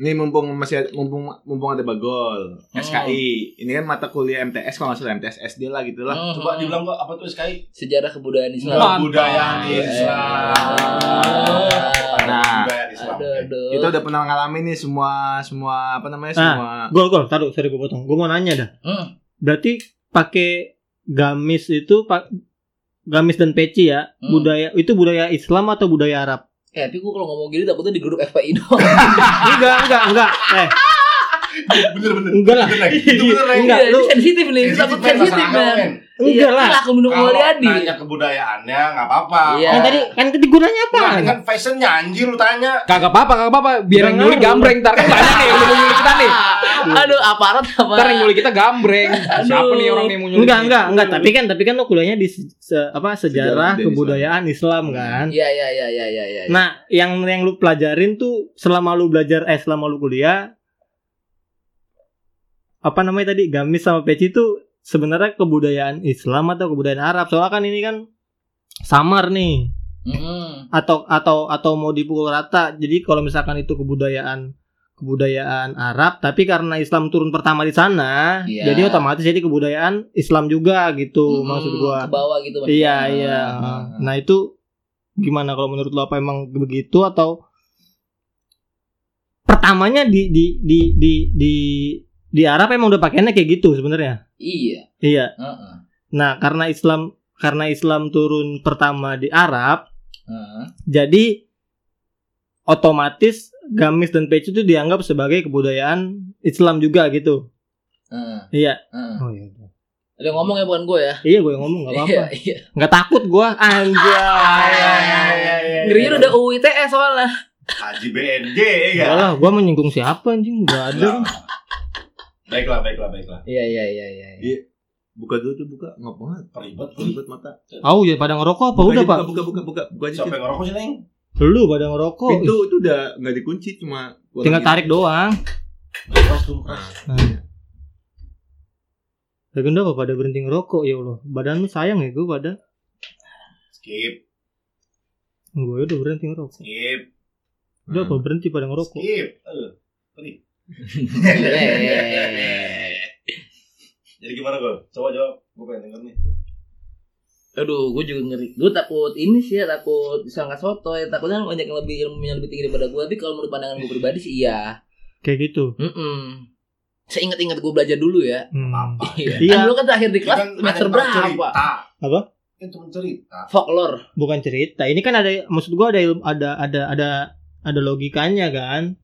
Speaker 1: Ini mumpung masih ada- mumpung mumpung ada bagol
Speaker 3: Oh.
Speaker 1: SKI. Ini kan mata kuliah MTS kalau nggak salah MTS SD lah gitu lah.
Speaker 5: Coba dibilang gua apa tuh
Speaker 4: Hmm.
Speaker 5: SKI?
Speaker 4: sejarah kebudayaan Islam.
Speaker 2: Mantap.
Speaker 5: Kebudayaan Islam.
Speaker 1: Nah.
Speaker 5: Kebudayaan Islam.
Speaker 4: Aduh, aduh.
Speaker 3: Oh,
Speaker 1: Kita udah pernah ngalamin nih semua semua apa namanya
Speaker 3: Ah.
Speaker 1: semua
Speaker 3: Gol gol, taruh, sorry gue potong. Gue mau nanya dah.
Speaker 4: Hmm.
Speaker 3: Berarti pakai gamis itu pak gamis dan peci ya
Speaker 4: Hmm.
Speaker 3: budaya itu budaya Islam atau budaya Arab?
Speaker 4: Eh, tapi gue kalau ngomong gini takutnya di grup FPI doang.
Speaker 3: enggak enggak enggak. Eh
Speaker 5: Bener bener.
Speaker 3: enggak lah.
Speaker 5: Bener lagi. Itu bener lagi.
Speaker 3: Enggak,
Speaker 4: Iya,
Speaker 3: lu-
Speaker 4: ini sensitif nih, ini
Speaker 5: Sensitif,
Speaker 4: takut
Speaker 5: men,
Speaker 4: sensitif
Speaker 5: masalah agama,
Speaker 4: men.
Speaker 5: men.
Speaker 3: Enggak lah.
Speaker 4: Aku mendukung
Speaker 5: Kalau
Speaker 4: Mulyadi.
Speaker 5: nanya kebudayaannya nggak apa-apa.
Speaker 4: Iya.
Speaker 3: Yang tadi kan tadi gunanya apa?
Speaker 5: Nah, kan fashionnya anjir lu tanya.
Speaker 2: Kagak apa-apa, kagak apa-apa. Biar yang
Speaker 3: Jangan.
Speaker 2: nyulik gambreng ntar kan banyak nih yang mau nyulik kita nih.
Speaker 4: Aduh, aparat apa?
Speaker 2: Ntar yang
Speaker 3: ya.
Speaker 2: nyulik kita gambreng. Siapa
Speaker 4: Aduh.
Speaker 2: nih orang nih yang mau
Speaker 4: Iya,
Speaker 2: nyulik?
Speaker 3: Enggak
Speaker 2: nih?
Speaker 3: enggak enggak, tapi kan tapi kan lo kuliahnya di se- se- apa
Speaker 1: Sejarah
Speaker 3: sejarah
Speaker 1: budaya
Speaker 3: kebudayaan Islam kan.
Speaker 4: Iya, iya, iya, iya, iya, iya.
Speaker 3: Nah, yang yang lu pelajarin tuh selama lu belajar eh selama lu kuliah apa namanya tadi gamis sama peci itu sebenarnya kebudayaan Islam atau kebudayaan Arab? Soalnya kan ini kan samar nih
Speaker 5: Hmm.
Speaker 4: Mm-mm.
Speaker 3: atau atau atau mau dipukul rata. Jadi kalau misalkan itu kebudayaan kebudayaan Arab tapi karena Islam turun pertama di sana,
Speaker 4: Iya. Hmm,
Speaker 3: jadi otomatis jadi kebudayaan Islam juga gitu
Speaker 4: Mm-mm,
Speaker 3: maksud gua.
Speaker 4: Ke bawah gitu maksudnya.
Speaker 3: Iya iya.
Speaker 4: ah,
Speaker 3: Nah itu gimana kalau menurut lo apa emang begitu atau pertamanya di di di di di di Arab emang udah pakaiannya kayak gitu sebenarnya.
Speaker 4: Iya.
Speaker 3: Iya.
Speaker 4: Heeh.
Speaker 3: Nah karena Islam karena Islam turun pertama di Arab
Speaker 4: Heeh.
Speaker 3: Jadi otomatis gamis dan peci itu dianggap sebagai kebudayaan Islam juga gitu.
Speaker 4: Heeh.
Speaker 3: Iya.
Speaker 4: Heeh.
Speaker 3: Oh iya.
Speaker 4: Ada yang ngomong ya bukan gue ya.
Speaker 3: Iya gue yang ngomong nggak apa-apa.
Speaker 4: Iya, iya.
Speaker 3: Nggak takut gue. Anjay.
Speaker 5: Iya,
Speaker 4: Ngerinya udah UITE E soalnya.
Speaker 5: Haji BNG
Speaker 3: Enggak
Speaker 5: ya.
Speaker 3: lah, gue menyinggung siapa anjing? Nggak ada.
Speaker 5: Enggak. Baiklah, baiklah, baiklah.
Speaker 4: Iya iya iya iya. iya.
Speaker 1: Buka dulu tuh buka nggak banget.
Speaker 5: Peribet.
Speaker 1: Ribet mata.
Speaker 3: Oh ya pada ngerokok apa
Speaker 1: Buka
Speaker 3: udah
Speaker 1: aja,
Speaker 3: pak?
Speaker 1: Buka buka buka buka aja.
Speaker 5: Siapa
Speaker 1: Cid.
Speaker 5: yang ngerokok sih, Neng?
Speaker 3: Lu pada ngerokok.
Speaker 1: Pintu itu udah nggak dikunci cuma
Speaker 3: Ih, Oh, Tinggal tarik doang.
Speaker 5: Keras tuh, keras.
Speaker 3: Legenda apa pada berhenti ngerokok ya Allah. Badan lu sayang ya gue pada.
Speaker 5: Skip,
Speaker 3: Gue ya udah berhenti ngerokok.
Speaker 5: skip,
Speaker 3: Udah apa berhenti pada ngerokok.
Speaker 5: skip. Aduh, perih.
Speaker 4: Iya,
Speaker 5: Jadi gimana gue? Coba jawab. Gue pengen denger nih.
Speaker 4: Aduh, gue juga ngeri. Gue takut ini sih ya, takut disangka sotoy. ya. Takutnya banyak yang lebih ilmunya lebih tinggi daripada gue. Tapi kalau menurut pandangan gue pribadi sih iya.
Speaker 3: Kayak gitu.
Speaker 4: Mm-mm. Saya ingat-ingat gue belajar dulu ya.
Speaker 3: Hmm.
Speaker 5: Apa?
Speaker 4: Iya.
Speaker 3: Iya.
Speaker 4: Kan lu kan terakhir di
Speaker 5: Ini
Speaker 4: kelas semester
Speaker 5: ada
Speaker 4: berapa?
Speaker 5: cerita.
Speaker 3: Apa?
Speaker 5: Ini cuma cerita.
Speaker 4: Folklore.
Speaker 3: Bukan cerita. Ini kan ada maksud gue ada ilmu- ada ada ada ada logikanya kan.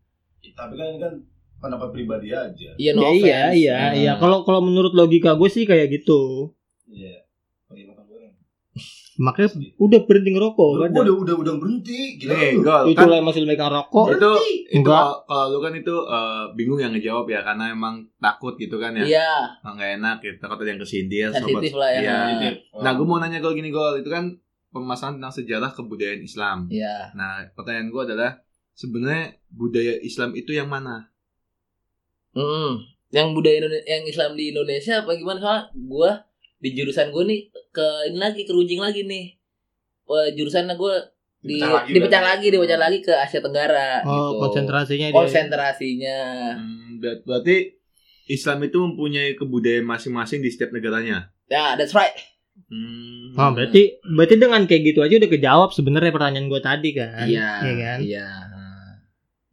Speaker 5: Tapi kan ini kan pendapat pribadi aja.
Speaker 4: Iya, no
Speaker 3: Ya,
Speaker 4: offense.
Speaker 3: iya iya
Speaker 4: Nah.
Speaker 3: iya. Kalau kalau menurut logika gue sih kayak gitu.
Speaker 5: Iya. Perih makan gue, Neng.
Speaker 3: Makanya udah berhenti ngerokok.
Speaker 5: Gue
Speaker 3: Pada.
Speaker 5: udah, udah, udah berhenti. Gila
Speaker 1: Eh,
Speaker 5: lu.
Speaker 1: gol
Speaker 3: Itu
Speaker 1: kan
Speaker 3: lah yang masih megang rokok.
Speaker 1: itu itu
Speaker 3: Enggak.
Speaker 1: kalau- kalau lu kan itu eh, bingung yang ngejawab ya karena emang takut gitu kan ya.
Speaker 4: Iya,
Speaker 1: Emang nggak enak gitu takut ada yang kesindir
Speaker 4: sensitif lah ya.
Speaker 1: Iya.
Speaker 5: Gitu ya.
Speaker 1: Nah, gue mau nanya gol gini gol itu kan pemasaran tentang sejarah kebudayaan Islam.
Speaker 4: Iya.
Speaker 1: Nah, pertanyaan gue adalah sebenarnya budaya Islam itu yang mana?
Speaker 4: Mm-mm. Yang budaya Indone- yang Islam di Indonesia apa gimana soalnya gua di jurusan gua nih ke ini lagi keruncing lagi nih. Eh, jurusannya gua di
Speaker 5: Dipecah lagi
Speaker 4: dipecah
Speaker 5: berarti. ya?
Speaker 4: lagi, dipecah lagi ke Asia Tenggara
Speaker 3: Oh,
Speaker 4: gitu.
Speaker 3: konsentrasinya dia.
Speaker 4: Konsentrasinya.
Speaker 1: Hmm, ber- berarti Islam itu mempunyai kebudayaan masing-masing di setiap negaranya.
Speaker 4: Ya, that's right.
Speaker 1: Hmm.
Speaker 3: Oh, berarti berarti dengan kayak gitu aja udah kejawab sebenarnya pertanyaan gue tadi kan.
Speaker 4: Iya.
Speaker 3: Iya kan?
Speaker 4: Iya.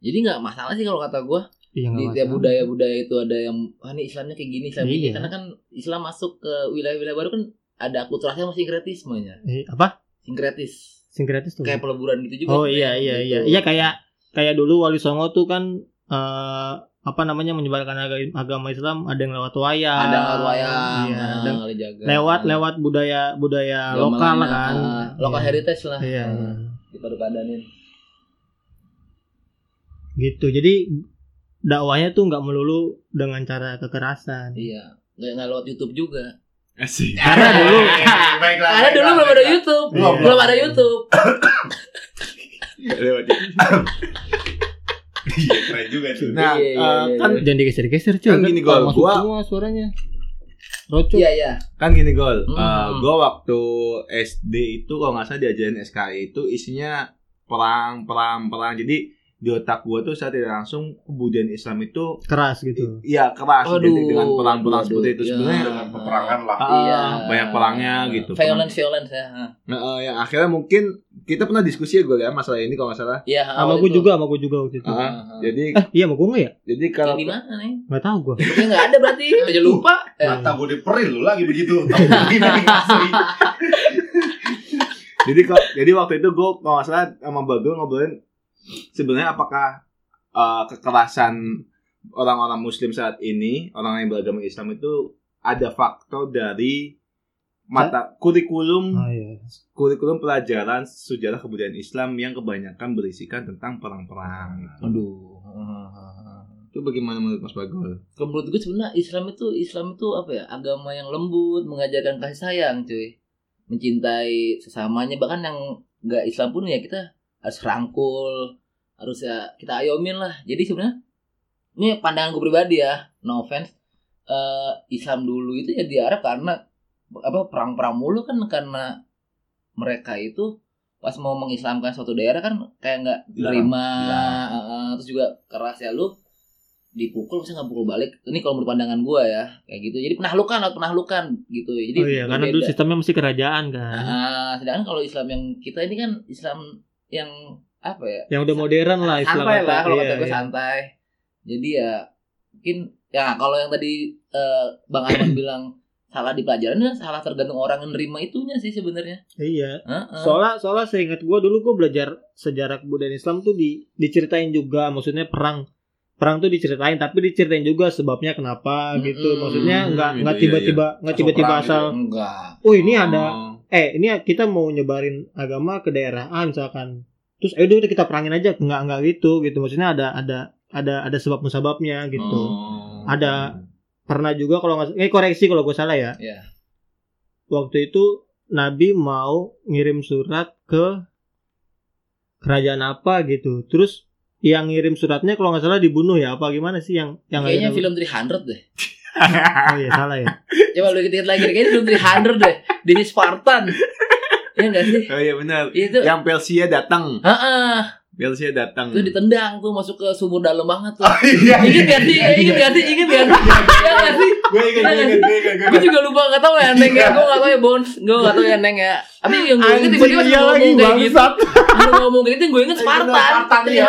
Speaker 4: Jadi nggak masalah sih kalau kata gua
Speaker 3: Iya nggak
Speaker 4: di tiap
Speaker 3: masalah.
Speaker 4: budaya-budaya itu ada yang ah ini Islamnya kayak gini, Islam
Speaker 3: Iya.
Speaker 4: gini. Karena kan Islam masuk ke wilayah-wilayah baru kan ada akulturasi sama sinkretismenya.
Speaker 3: Eh, apa?
Speaker 4: Sinkretis.
Speaker 3: Sinkretis tuh.
Speaker 4: kayak peleburan gitu juga.
Speaker 3: Oh
Speaker 4: sebenarnya,
Speaker 3: iya iya
Speaker 4: gitu.
Speaker 3: iya. Iya kayak kayak dulu Wali Songo tuh kan eh apa namanya menyebarkan aga- agama Islam ada yang lewat wayang.
Speaker 4: ada lewat wayang, Nah,
Speaker 3: Iya,
Speaker 4: ada
Speaker 3: ada-
Speaker 4: kali jaga.
Speaker 3: lewat lewat budaya budaya
Speaker 4: Agama
Speaker 3: lokal
Speaker 4: mana,
Speaker 3: kan.
Speaker 4: ah, lokal
Speaker 3: Iya.
Speaker 4: heritage lah. Hmm.
Speaker 3: Iya, iya.
Speaker 4: Dipadu-padanin.
Speaker 3: Gitu. Jadi dakwahnya tuh nggak melulu dengan cara kekerasan.
Speaker 4: Iya. Nggak, nggak lewat YouTube juga.
Speaker 1: Asik.
Speaker 3: Karena dulu Nah,
Speaker 5: Baiklah.
Speaker 4: Karena dulu belum ada YouTube,
Speaker 3: Iya.
Speaker 4: belum ada YouTube.
Speaker 1: Lewat. ya.
Speaker 5: Iya, keren juga tuh.
Speaker 1: Nah,
Speaker 4: Iya, iya,
Speaker 1: eh,
Speaker 4: iya,
Speaker 1: kan
Speaker 3: jangan digeser-geser cuy.
Speaker 1: Kan gini, gua-
Speaker 3: kalau masuk
Speaker 1: gua-
Speaker 3: semua suaranya. Rocok.
Speaker 4: Iya iya.
Speaker 1: kan gini gol. Eh,
Speaker 4: Hmm.
Speaker 1: gue waktu SD itu kalau nggak salah diajarin SKI itu isinya perang, perang, perang. Jadi di otak gue tuh saat langsung kebudayaan Islam itu
Speaker 3: Keras gitu.
Speaker 4: Iya.
Speaker 1: ya keras
Speaker 4: Aduh.
Speaker 1: identik dengan perang-perang
Speaker 4: Aduh,
Speaker 1: seperti itu
Speaker 4: iya.
Speaker 1: sebenarnya
Speaker 5: Dengan peperangan lah.
Speaker 1: Ah, banyak perangnya gitu.
Speaker 4: Violence violence ya. ah.
Speaker 1: Nah, eh, yang akhirnya mungkin kita pernah diskusi ya gue ya masalah ini kalau nggak salah.
Speaker 4: Iya.
Speaker 3: Sama gue juga, sama gue juga waktu itu.
Speaker 1: Ah,
Speaker 4: Jadi
Speaker 1: Jadi
Speaker 3: Eh, iya sama gue nggak ya?
Speaker 1: jadi kalau
Speaker 4: kalau di mana nih?
Speaker 3: Nggak tahu gue.
Speaker 4: Ini nggak ada berarti. Aja lupa. Eh,
Speaker 5: Mata gue diperil lu lagi begitu. Tambahin lagi asli.
Speaker 1: jadi kalau jadi waktu itu gue kalau nggak salah sama Bagel ngobrolin sebenarnya apakah eh, kekerasan orang-orang Muslim saat ini orang yang beragama Islam itu ada faktor dari mata kurikulum
Speaker 4: Hmm.
Speaker 3: Ah, iya.
Speaker 1: kurikulum pelajaran sejarah kebudayaan Islam yang kebanyakan berisikan tentang perang-perang.
Speaker 4: Aduh. Ah, ah, ah.
Speaker 1: Itu bagaimana menurut Mas Bagel?
Speaker 4: Kalau menurut gue sebenarnya Islam itu Islam itu apa ya agama yang lembut mengajarkan kasih sayang cuy mencintai sesamanya bahkan yang nggak Islam pun ya kita harus rangkul harus ya kita ayomin lah jadi sebenarnya ini pandangan gue pribadi ya no offense Eh, Islam dulu itu ya diarah karena apa perang-perang mulu kan karena mereka itu pas mau mengislamkan suatu daerah kan kayak nggak
Speaker 5: Dilarang.
Speaker 4: terima
Speaker 5: Dilarang.
Speaker 4: eh, eh, terus juga keras ya lu dipukul masa nggak pukul balik ini kalau menurut pandangan gua ya kayak gitu jadi penahlukan atau penahlukan gitu jadi
Speaker 3: oh iya, karena dulu
Speaker 4: berbeda.
Speaker 3: sistemnya mesti kerajaan kan.
Speaker 4: Ah, sedangkan kalau Islam yang kita ini kan Islam yang apa ya
Speaker 3: yang udah modern Kan lah Islam
Speaker 4: santai
Speaker 3: kata.
Speaker 4: lah kalau
Speaker 3: Iya,
Speaker 4: kata gue
Speaker 3: iya.
Speaker 4: santai jadi ya mungkin ya kalau yang tadi eh, bang Arman bilang salah di pelajaran dan salah tergantung orang yang nerima itunya sih sebenarnya.
Speaker 3: Iya.
Speaker 4: Heeh.
Speaker 3: Soalnya soalnya seingat gue dulu gue belajar sejarah kebudayaan Islam tuh di diceritain juga maksudnya perang perang tuh diceritain tapi diceritain juga sebabnya kenapa
Speaker 4: Mm-mm.
Speaker 3: gitu maksudnya nggak
Speaker 1: Gitu,
Speaker 3: nggak
Speaker 1: iya,
Speaker 3: tiba-tiba nggak
Speaker 5: Langsung
Speaker 3: tiba-tiba
Speaker 5: perang
Speaker 3: asal
Speaker 4: Enggak.
Speaker 3: oh ini ada
Speaker 1: Oh.
Speaker 3: eh ini kita mau nyebarin agama ke daerah A misalkan terus ayo deh kita perangin aja nggak nggak gitu gitu maksudnya ada ada ada ada sebab musababnya gitu
Speaker 4: Hmm.
Speaker 1: Oh.
Speaker 3: Ada- pernah juga kalau nggak eh koreksi kalau gue salah ya.
Speaker 4: Iya.
Speaker 3: Waktu itu Nabi mau ngirim surat ke kerajaan apa gitu. Terus yang ngirim suratnya kalau nggak salah dibunuh ya apa gimana sih yang yang
Speaker 4: Kayaknya
Speaker 3: ada-
Speaker 4: film 300 deh.
Speaker 3: oh iya salah ya.
Speaker 4: Coba lu dikit lagi kayaknya film 300 deh. Dini Spartan. Iya enggak sih?
Speaker 1: Oh iya benar.
Speaker 4: Itu.
Speaker 1: Yang Pelsia datang.
Speaker 4: Heeh.
Speaker 1: Belsia datang.
Speaker 3: Hmm.
Speaker 4: Itu ditendang tuh masuk ke sumur dalam banget
Speaker 3: Oh,
Speaker 4: tuh.
Speaker 5: Iya.
Speaker 4: Ingat gak sih? Ingat gak sih? Ingat gak sih? Iya gak sih?
Speaker 5: Gue ingat, gue ingat, gue ingat, gue
Speaker 4: Gue
Speaker 5: ingat.
Speaker 4: juga lupa gak tau ya Neng ya Gue gak tau ya Bones Gue gak tau ya Neng ya Tapi yang gue inget
Speaker 3: Anjing,
Speaker 4: tiba-tiba
Speaker 3: iya
Speaker 4: lu
Speaker 3: lagi,
Speaker 4: ngomong kayak gitu
Speaker 3: bangsat.
Speaker 4: Lu ngomong kayak gitu gue inget
Speaker 5: Eh, bener,
Speaker 4: Spartan
Speaker 5: Spartan, iya.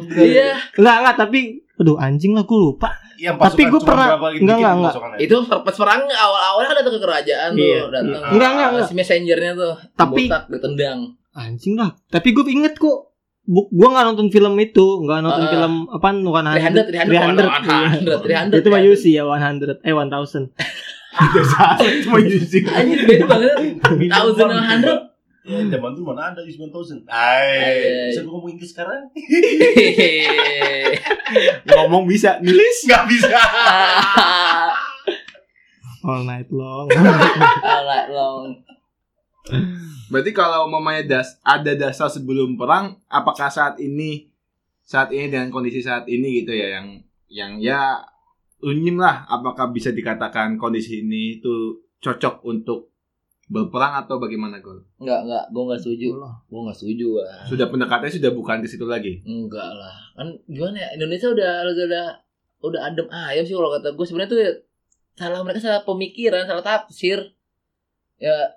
Speaker 4: 300 Iya
Speaker 3: Enggak enggak tapi aduh anjing lah gue lupa. Tapi
Speaker 5: Yang Iya, pasukan
Speaker 3: gua
Speaker 5: cuma
Speaker 3: pernah-
Speaker 5: berapa gitu,
Speaker 3: enggak,
Speaker 5: dikit
Speaker 3: enggak,
Speaker 5: pasukannya.
Speaker 4: Itu pas perang awal-awalnya kan datang ke kerajaan
Speaker 3: Iya.
Speaker 4: tuh datang.
Speaker 5: Enggak,
Speaker 3: enggak, enggak.
Speaker 4: Si messengernya tuh
Speaker 3: Tapi-
Speaker 4: botak, ditendang
Speaker 3: Anjing lah. Tapi gue inget kok Bu, gua nggak nonton film itu, nggak nonton
Speaker 4: Ah.
Speaker 3: film apa bukan
Speaker 4: 300 300 300
Speaker 3: Itu mah UC ya 100 eh 1000.
Speaker 5: Cuma Yusi.
Speaker 4: Anjir beda banget Thousand and hundred.
Speaker 5: Ya, zaman dulu mana ada Yusman Thousand.
Speaker 4: Ay.
Speaker 5: Ay, bisa gue ngomong Inggris sekarang?
Speaker 4: Hehehe.
Speaker 1: Ngomong bisa nulis.
Speaker 5: Gak bisa.
Speaker 4: Ah,
Speaker 3: All night long.
Speaker 4: Alright long
Speaker 1: Berarti kalau mamanya das ada dasar sebelum perang, apakah saat ini saat ini dengan kondisi saat ini gitu ya yang yang ya unyim lah apakah bisa dikatakan kondisi ini itu cocok untuk berperang atau bagaimana gol
Speaker 4: Enggak enggak Gue gak setuju Gue gak setuju ah.
Speaker 1: sudah pendekatannya sudah bukan ke situ lagi
Speaker 4: Enggak lah. Kan gimana ya? Indonesia udah udah udah, udah adem ayam sih kalau kata gue sebenarnya tuh ya, salah mereka salah pemikiran, salah tafsir. Ya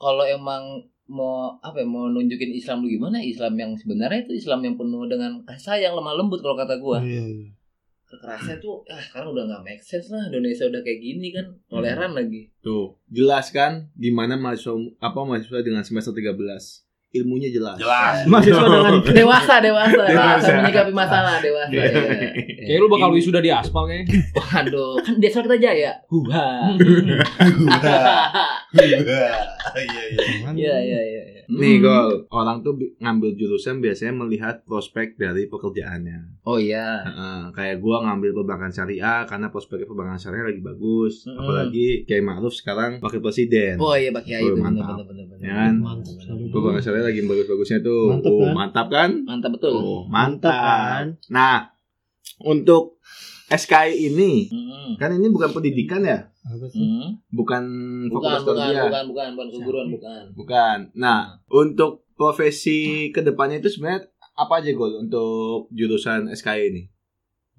Speaker 4: kalau emang mau apa ya, mau nunjukin Islam lu gimana? Islam yang sebenarnya itu Islam yang penuh dengan kasih sayang lemah lembut kalau kata gue.
Speaker 3: Iya, iya.
Speaker 4: Kekerasan tuh ah sekarang udah nggak make sense lah Indonesia udah kayak gini kan
Speaker 2: Hmm.
Speaker 4: toleran lagi.
Speaker 1: tuh jelas kan gimana mahasiswa apa mahasiswa dengan semester 13 ilmunya jelas
Speaker 5: Jelas.
Speaker 3: Mahasiswa dengan
Speaker 4: Dewasa dewasa, dewasa
Speaker 1: Dewasa.
Speaker 4: menyikapi masalah dewasa. ya.
Speaker 2: Iya. Kayak lu bakal wisuda di aspal kayaknya.
Speaker 4: Waduh, kan desa kita jaya.
Speaker 2: Hmm. Nah.
Speaker 4: Huha.
Speaker 5: Iya, iya.
Speaker 4: Iya iya iya. iya.
Speaker 1: Nih gol, orang tuh bi- ngambil jurusan biasanya melihat prospek dari pekerjaannya.
Speaker 4: Oh iya.
Speaker 1: Heeh, kayak gua ngambil perbankan syariah karena prospeknya perbankan syariah lagi bagus.
Speaker 4: Mm-mm.
Speaker 1: Apalagi Kiai Ma'ruf sekarang wakil presiden.
Speaker 4: Hmm. Oh iya Pak Kiai
Speaker 1: Oh,
Speaker 4: itu benar
Speaker 1: mantap.
Speaker 4: benar benar benar.
Speaker 1: Ya kan?
Speaker 4: Mantap, benar, benar.
Speaker 1: Perbankan syariah lagi bagus-bagusnya tuh.
Speaker 3: Mantap,
Speaker 1: Oh,
Speaker 3: kan?
Speaker 1: mantap kan?
Speaker 4: Mantap betul.
Speaker 1: Oh,
Speaker 3: mantap
Speaker 4: kan?
Speaker 3: kan?
Speaker 1: mantap. Nah, untuk SKI ini
Speaker 4: Mm-mm.
Speaker 1: kan ini bukan pendidikan ya?
Speaker 3: Apa sih?
Speaker 4: Mm.
Speaker 1: Bukan
Speaker 4: Bukan,
Speaker 1: fokus
Speaker 4: bukan,
Speaker 1: kerja.
Speaker 4: bukan, bukan, bukan, keguruan, bukan.
Speaker 1: Bukan. Nah, untuk profesi kedepannya itu sebenarnya apa aja gol untuk jurusan SKI ini?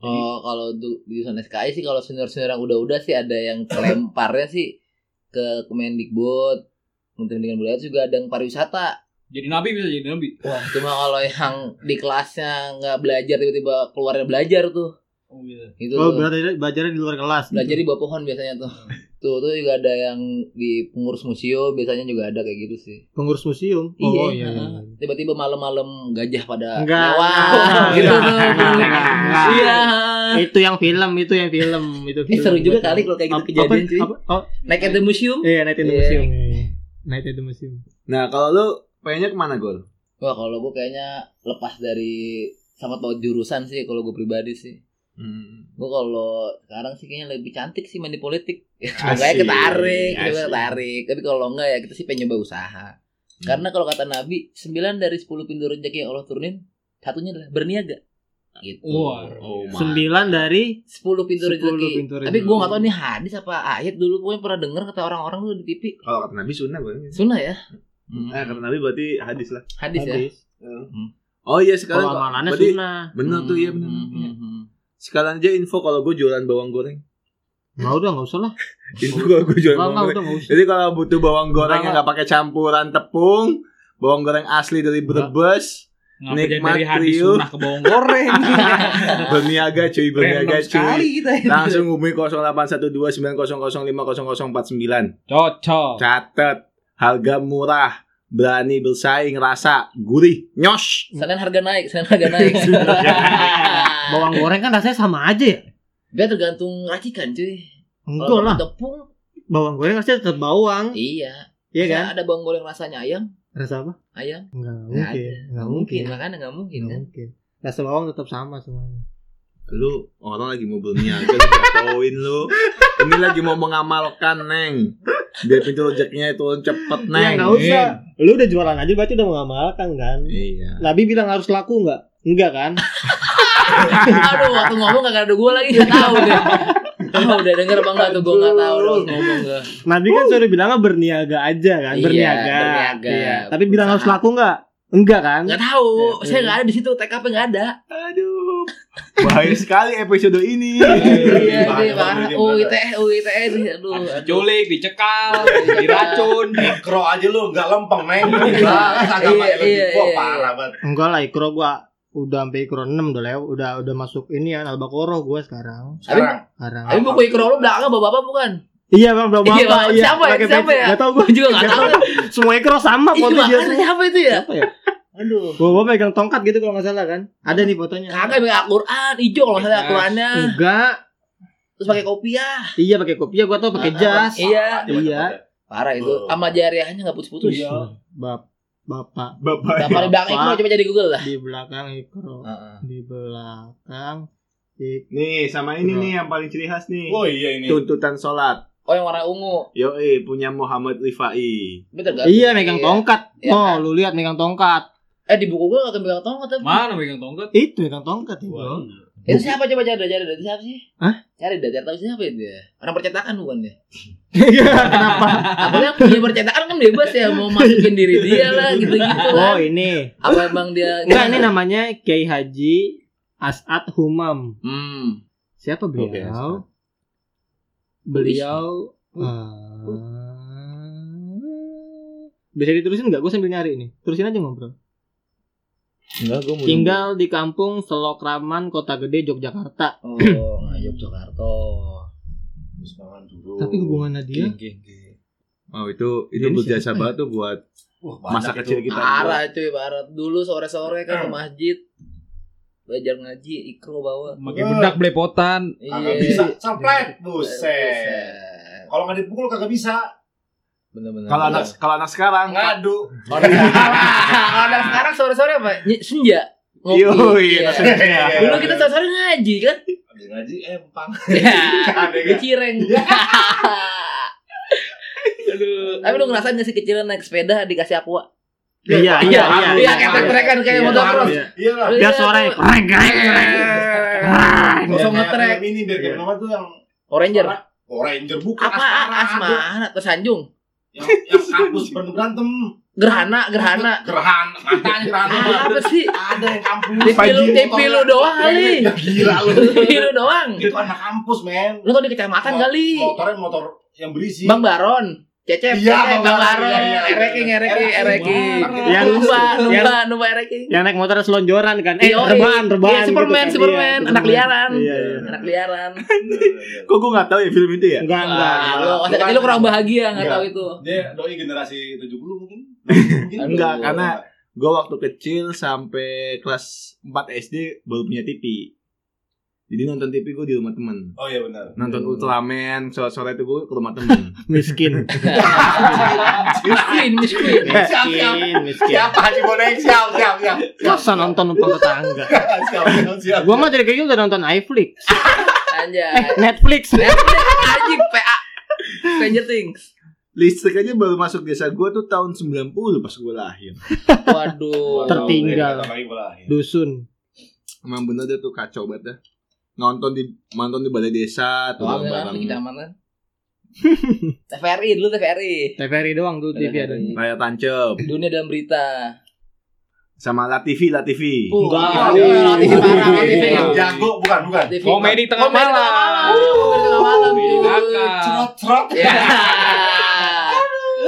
Speaker 4: Oh, kalau untuk jurusan SKI sih kalau senior-senior yang udah-udah sih ada yang kelemparnya sih ke Kemendikbud, Menteri Pendidikan Budaya juga ada yang pariwisata.
Speaker 2: Jadi nabi bisa jadi nabi.
Speaker 4: Wah, cuma kalau yang di kelasnya nggak belajar tiba-tiba keluarnya belajar tuh.
Speaker 2: Oh gitu.
Speaker 4: Itu
Speaker 3: Oh, berarti belajarnya di luar kelas. gitu?
Speaker 4: belajar di bawah pohon biasanya tuh. Tuh, tuh juga ada yang di pengurus museum biasanya juga ada kayak gitu sih.
Speaker 3: pengurus museum.
Speaker 4: iya,
Speaker 3: Oh, iya. iya.
Speaker 4: heeh. Tiba-tiba malam-malam gajah pada
Speaker 3: Enggak,
Speaker 4: lewat.
Speaker 3: enggak,
Speaker 4: gitu
Speaker 3: enggak,
Speaker 4: tuh.
Speaker 3: enggak, enggak.
Speaker 4: Iya.
Speaker 3: Itu yang film, itu yang film, itu
Speaker 4: Eh,
Speaker 3: film.
Speaker 4: seru juga kali kalau kayak gitu
Speaker 3: Apa-
Speaker 4: kejadian
Speaker 3: apa-
Speaker 4: cuy.
Speaker 3: apa- oh,
Speaker 4: Naik at the museum.
Speaker 3: iya, Night in the
Speaker 4: Iya.
Speaker 3: Museum. iya, iya. Night in the Museum.
Speaker 1: Nah, kalau lu pengennya kemana, Gol?
Speaker 4: Wah, kalau gue kayaknya lepas dari sama tau jurusan sih kalau gue pribadi sih.
Speaker 1: Hmm.
Speaker 4: Gue kalau sekarang sih kayaknya lebih cantik sih main di politik. Semoga ya
Speaker 1: Asik,
Speaker 4: ketarik, semoga
Speaker 1: asik.
Speaker 4: ketarik. Tapi kalau enggak ya kita sih pengen nyoba usaha.
Speaker 3: Hmm.
Speaker 4: Karena kalau kata Nabi, 9 dari 10 pintu rezeki yang Allah turunin, satunya adalah berniaga. Gitu.
Speaker 2: Wah.
Speaker 1: Oh, my.
Speaker 3: Sembilan dari
Speaker 4: 10 pintu
Speaker 3: 10
Speaker 4: rezeki.
Speaker 3: pintu rezeki.
Speaker 4: Tapi gue gak tau ini hadis apa ayat dulu gue pernah denger kata orang-orang tuh di TV.
Speaker 1: Kalau kata Nabi sunnah berarti.
Speaker 4: Sunnah ya?
Speaker 1: Eh, kata Nabi berarti hadis lah.
Speaker 4: Hadis ya?
Speaker 3: habis.
Speaker 1: Oh iya
Speaker 3: Kalau
Speaker 1: sekarang.
Speaker 3: amalannya
Speaker 1: berarti
Speaker 3: sunnah.
Speaker 1: bener tuh iya bener.
Speaker 2: Hmm,
Speaker 1: Iya. Sekarang aja info kalau gue jualan bawang goreng.
Speaker 3: Nggak udah, nggak usah lah.
Speaker 1: Info kalau gue jualan Oh.
Speaker 3: Nggak,
Speaker 1: bawang
Speaker 3: nggak
Speaker 1: goreng.
Speaker 3: udah, nggak usah.
Speaker 1: Jadi kalau butuh bawang goreng yang
Speaker 3: Nggak,
Speaker 1: nggak pakai campuran tepung, bawang goreng asli dari
Speaker 3: Nggak.
Speaker 1: Brebes,
Speaker 2: Ngapain
Speaker 1: Nikmat
Speaker 2: dari hadis
Speaker 1: liu.
Speaker 2: sunnah ke bawang goreng.
Speaker 1: berniaga cuy berniaga
Speaker 2: Random sekali
Speaker 1: cuy
Speaker 2: kita ini.
Speaker 1: langsung hubungi 081290050049
Speaker 2: Cocok.
Speaker 1: catat harga murah berani bersaing rasa gurih nyos
Speaker 4: Senin harga naik, Senin harga naik.
Speaker 3: Bawang goreng kan rasanya sama aja ya?
Speaker 4: Dia tergantung racikan cuy.
Speaker 3: Enggak
Speaker 4: Kalau
Speaker 3: lah.
Speaker 4: Tepung,
Speaker 3: Bawang goreng rasanya tetap bawang,
Speaker 4: iya.
Speaker 3: iya kan?
Speaker 4: Ada bawang goreng rasanya ayam,
Speaker 3: Rasa apa?
Speaker 4: ayam.
Speaker 3: Enggak
Speaker 4: Nggak
Speaker 3: mungkin. Enggak
Speaker 4: ada. Nggak
Speaker 3: mungkin.
Speaker 4: mungkin, makanya nggak mungkin
Speaker 3: Nggak
Speaker 4: kan.
Speaker 3: mungkin. Rasa bawang tetap sama semuanya.
Speaker 1: lu orang lagi mau berniaga lu jatuhin lu ini lagi mau mengamalkan neng biar pintu rezekinya itu cepet
Speaker 2: Iya,
Speaker 3: Ya
Speaker 1: neng
Speaker 3: enggak usah. Lu udah jualan aja berarti udah mengamalkan kan?
Speaker 1: iya
Speaker 3: Nabi bilang harus laku enggak? Enggak kan?
Speaker 4: Aduh, waktu ngomong gak ada gue lagi gak tahu deh. Ah, udah denger apa enggak tuh gue gak tahu dong ngomong gue.
Speaker 3: Nabi kan suruh bilangnya berniaga aja kan?
Speaker 4: Iya,
Speaker 3: Berniaga.
Speaker 4: berniaga.
Speaker 3: Iya. Tapi bilang harus
Speaker 4: Usaha.
Speaker 3: laku enggak? Enggak kan?
Speaker 4: Gak tahu,
Speaker 3: Ya,
Speaker 4: saya
Speaker 3: ya.
Speaker 4: gak ada di situ, TKP gak ada.
Speaker 1: aduh bahaya sekali episode ini
Speaker 4: Iya,
Speaker 5: Bahan
Speaker 4: deh,
Speaker 5: apa
Speaker 4: parah.
Speaker 5: ini,
Speaker 4: UITE, UITE, deh, E. aduh.
Speaker 2: Habis
Speaker 4: aduh.
Speaker 2: diculik, dicekal, diracun.
Speaker 5: Mikro aja lu nggak lempeng neng.
Speaker 4: Iya,
Speaker 5: Kagak
Speaker 4: iya,
Speaker 5: pakai lebih Wah,
Speaker 4: iya.
Speaker 5: parah banget.
Speaker 3: Enggak lah ikro gua udah sampai ikro 6 udah lew, udah udah masuk ini kan albakoroh gua sekarang.
Speaker 5: Sekarang
Speaker 3: Sekarang.
Speaker 4: Tapi buku ikro lu belakang bapak-bapak bukan?
Speaker 3: Iya bang, belum
Speaker 4: Iya,
Speaker 3: apa
Speaker 4: Bang.
Speaker 3: iya.
Speaker 4: Siapa ya?
Speaker 3: Pakai
Speaker 4: Siapa
Speaker 3: peci.
Speaker 4: ya?
Speaker 3: Nggak tahu gua.
Speaker 4: Gue juga gak tahu.
Speaker 3: Semua ekor sama
Speaker 4: Ih,
Speaker 3: fotonya
Speaker 4: makanya
Speaker 3: semua.
Speaker 4: siapa itu ya?
Speaker 3: Iya, Apa ya?
Speaker 4: Aduh.
Speaker 3: Gua, gua pegang tongkat gitu kalau nggak salah kan. Ada nih fotonya.
Speaker 4: Kakak yang Al-Quran, hijau kalau misalnya
Speaker 5: Iya.
Speaker 2: Yes.
Speaker 4: Al-Qurannya
Speaker 3: Enggak.
Speaker 4: Terus pakai ah. kopiah
Speaker 3: Iya pakai kopiah, gua tau pakai
Speaker 4: Ah,
Speaker 3: jas.
Speaker 4: Iya.
Speaker 3: Iya.
Speaker 4: Parah itu,
Speaker 5: Oh.
Speaker 4: sama jariahnya gak putus-putus
Speaker 5: Iya.
Speaker 3: Bap bapak
Speaker 1: bapak
Speaker 4: Bapak di belakang ikro,
Speaker 3: Bapak.
Speaker 4: coba jadi Google lah
Speaker 3: di belakang ikro, di belakang ik-
Speaker 1: nih sama ini nih yang paling ciri khas nih
Speaker 5: Oh iya ini.
Speaker 1: tuntutan sholat
Speaker 4: Oh yang warna ungu
Speaker 1: yoi punya Muhammad Rifai
Speaker 4: Bener gak?
Speaker 3: Iya megang tongkat.
Speaker 4: Iya,
Speaker 3: Oh, lu lihat megang tongkat.
Speaker 4: Eh di buku gue gak akan bilang tongkat tapi
Speaker 2: Mana megang tongkat?
Speaker 3: Itu megang tongkat itu.
Speaker 4: Itu siapa coba cari dah, cari dah, itu siapa sih?
Speaker 3: Hah?
Speaker 4: Cari dah, cari tahu siapa itu ya? Orang percetakan bukan ya?
Speaker 3: Iya, Kenapa?
Speaker 4: Apa yang punya percetakan kan bebas ya mau masukin diri dia lah gitu-gitu
Speaker 3: Oh,
Speaker 4: lah.
Speaker 3: ini.
Speaker 4: Apa emang dia
Speaker 3: Enggak, ini namanya Kiai Haji As'ad Humam.
Speaker 4: Hmm.
Speaker 3: Siapa
Speaker 1: Oke, Asad.
Speaker 3: beliau? beliau
Speaker 4: Tulis.
Speaker 3: Ah. eh, bisa diterusin nggak? Gue sambil nyari ini. Terusin aja ngobrol.
Speaker 1: enggak gua mau
Speaker 3: Tinggal di kampung Selokraman, Kota Gede, Yogyakarta.
Speaker 4: Oh, nah, Yogyakarta.
Speaker 3: Tapi hubungannya dia
Speaker 1: Oh itu itu
Speaker 3: Ini
Speaker 1: berjasa
Speaker 3: siapa
Speaker 1: banget
Speaker 3: ya?
Speaker 1: tuh buat masa kecil kita.
Speaker 4: Parah cuy, parah. Dulu sore-sore kan ke masjid belajar ngaji, ikro bawa. Iya.
Speaker 2: Pakai bedak belepotan.
Speaker 5: Kagak Iya. bisa. Samplet. Buset.
Speaker 4: Buset.
Speaker 5: Kalau nggak dipukul kagak bisa.
Speaker 4: Bener-bener.
Speaker 1: Kalau anak kalau anak sekarang
Speaker 5: Ngadu.
Speaker 4: Orang orang sekarang sore-sore apa? Ny- Senja. Ngopi.
Speaker 1: Yoi, anak
Speaker 4: Iya.
Speaker 1: senja.
Speaker 4: Dulu kita sore-sore ngaji kan?
Speaker 5: Habis ngaji eh, empang.
Speaker 4: Ya.
Speaker 5: Ada
Speaker 4: Di
Speaker 5: nggak?
Speaker 4: Cireng. Aduh. Tapi lu ngerasain gak sih kecilan naik sepeda dikasih aqua?
Speaker 3: Iya, iya, iya.
Speaker 4: Iya, kayak mereka kayak
Speaker 5: Iya,
Speaker 4: motocross.
Speaker 5: harus. Iya lah.
Speaker 3: Biar suaranya kreng, kreng, kreng.
Speaker 5: Biar
Speaker 4: Kosong
Speaker 5: kayak
Speaker 4: ngetrek. Iya.
Speaker 5: film Ini biar kayak apa tuh yang
Speaker 4: Oranger.
Speaker 5: Oranger bukan
Speaker 4: Apaan?
Speaker 5: Asmara.
Speaker 4: Asma, tersanjung.
Speaker 5: Yang yang kampus berantem berantem.
Speaker 4: Gerhana, gerhana. Ah,
Speaker 5: Gerhana. Matanya gerhana.
Speaker 4: Apa sih?
Speaker 5: Ada yang kampus.
Speaker 4: TV lu, TV lu doang kali.
Speaker 5: Ya, Gila lu.
Speaker 4: TV lu doang.
Speaker 5: Itu anak kampus men.
Speaker 4: Lu tau di kecamatan
Speaker 5: Mo-
Speaker 4: kali.
Speaker 5: Motornya motor yang berisi.
Speaker 4: Bang Baron. Cecep,
Speaker 5: Iya,
Speaker 4: Cecep,
Speaker 5: Bang
Speaker 4: Bang
Speaker 5: Baron.
Speaker 4: Baron,
Speaker 5: Iya, iya,
Speaker 4: ereking,
Speaker 5: iya.
Speaker 4: ereking, ereking.
Speaker 5: Ereking.
Speaker 4: Yang
Speaker 3: Yang-
Speaker 4: Iya, numba,
Speaker 3: yang-
Speaker 4: numba, numba ereking.
Speaker 3: Yang naik motor selonjoran kan? Eh,
Speaker 4: Yoi.
Speaker 3: rebahan, rebahan.
Speaker 4: Iya, Superman,
Speaker 3: gitu kan.
Speaker 4: Superman,
Speaker 3: Iya,
Speaker 4: anak liaran.
Speaker 3: Iya, iya.
Speaker 4: Anak liaran.
Speaker 5: iya.
Speaker 1: Kok gua nggak tahu ya film itu ya?
Speaker 3: Enggak, enggak.
Speaker 4: Ah, Lu masa kecil lu kurang bahagia nggak tahu itu.
Speaker 5: Nah, kan Dia doi generasi 70 mungkin.
Speaker 1: Enggak, karena gua waktu kecil sampai kelas 4 SD baru punya TV. Jadi nonton TV gua di rumah temen
Speaker 5: Oh iya benar.
Speaker 1: Nonton Ultraman sore-sore itu gua ke rumah temen
Speaker 3: Miskin.
Speaker 4: Miskin, miskin.
Speaker 5: Siap, siap.
Speaker 3: Miskin, miskin.
Speaker 5: Siapa Haji Bonek? Siap, siap, siap.
Speaker 3: Masa nonton numpang tetangga?
Speaker 5: Siap, siap, siap.
Speaker 3: Gua mah dari kecil udah nonton iFlix. Eh,
Speaker 4: Anjay.
Speaker 3: Netflix.
Speaker 4: Anjing PA. Stranger Things.
Speaker 1: Listrik aja baru masuk desa gua tuh tahun 90 pas gua lahir.
Speaker 4: Waduh.
Speaker 3: Tertinggal.
Speaker 5: Apalagi bola, ya.
Speaker 3: Dusun.
Speaker 1: Emang bener dia tuh kacau banget dah. Nonton di nonton di balai desa tuh
Speaker 4: Doang kan di
Speaker 1: bareng
Speaker 4: kecamatan. TVRI dulu TVRI.
Speaker 3: TVRI doang dulu TV ada.
Speaker 1: layar tancap
Speaker 4: Dunia dalam berita.
Speaker 1: sama Latifi Latifi.
Speaker 4: Uh,
Speaker 3: Enggak.
Speaker 4: iya, Latifi parah, Latifi.
Speaker 5: Yang jago bukan bukan.
Speaker 4: Latifi.
Speaker 2: Komedi tengah
Speaker 4: Komedi
Speaker 2: malam.
Speaker 4: tengah malam. Komedi tengah malam.
Speaker 2: Komedi
Speaker 4: cuy.
Speaker 2: nakal.
Speaker 5: Trot trot.
Speaker 4: Ya. Iya.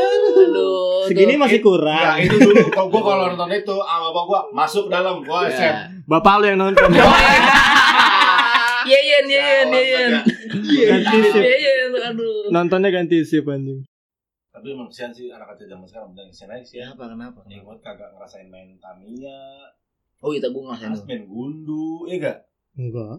Speaker 4: Aduh, tuh.
Speaker 3: Segini masih
Speaker 5: Ya,
Speaker 4: Nah,
Speaker 3: kurang.
Speaker 5: itu dulu kalau gua kalau nonton itu sama bapak gua masuk dalam gua
Speaker 4: Ya.
Speaker 5: set.
Speaker 3: Bapak lu yang nonton.
Speaker 4: Yeyen, yeyen, yeyen. Iya.
Speaker 3: ganti shift.
Speaker 4: Yeyen, aduh.
Speaker 3: Nontonnya ganti shift anjing.
Speaker 5: Tapi emang kesian sih anak kecil zaman sekarang udah kesian aja sih ya.
Speaker 4: Kenapa, kenapa?
Speaker 5: Ya, gua kagak ngerasain main Tamiya,
Speaker 4: Oh iya, gue ngerasain
Speaker 5: harus
Speaker 4: dulu.
Speaker 5: main gundu, iya gak?
Speaker 3: Enggak.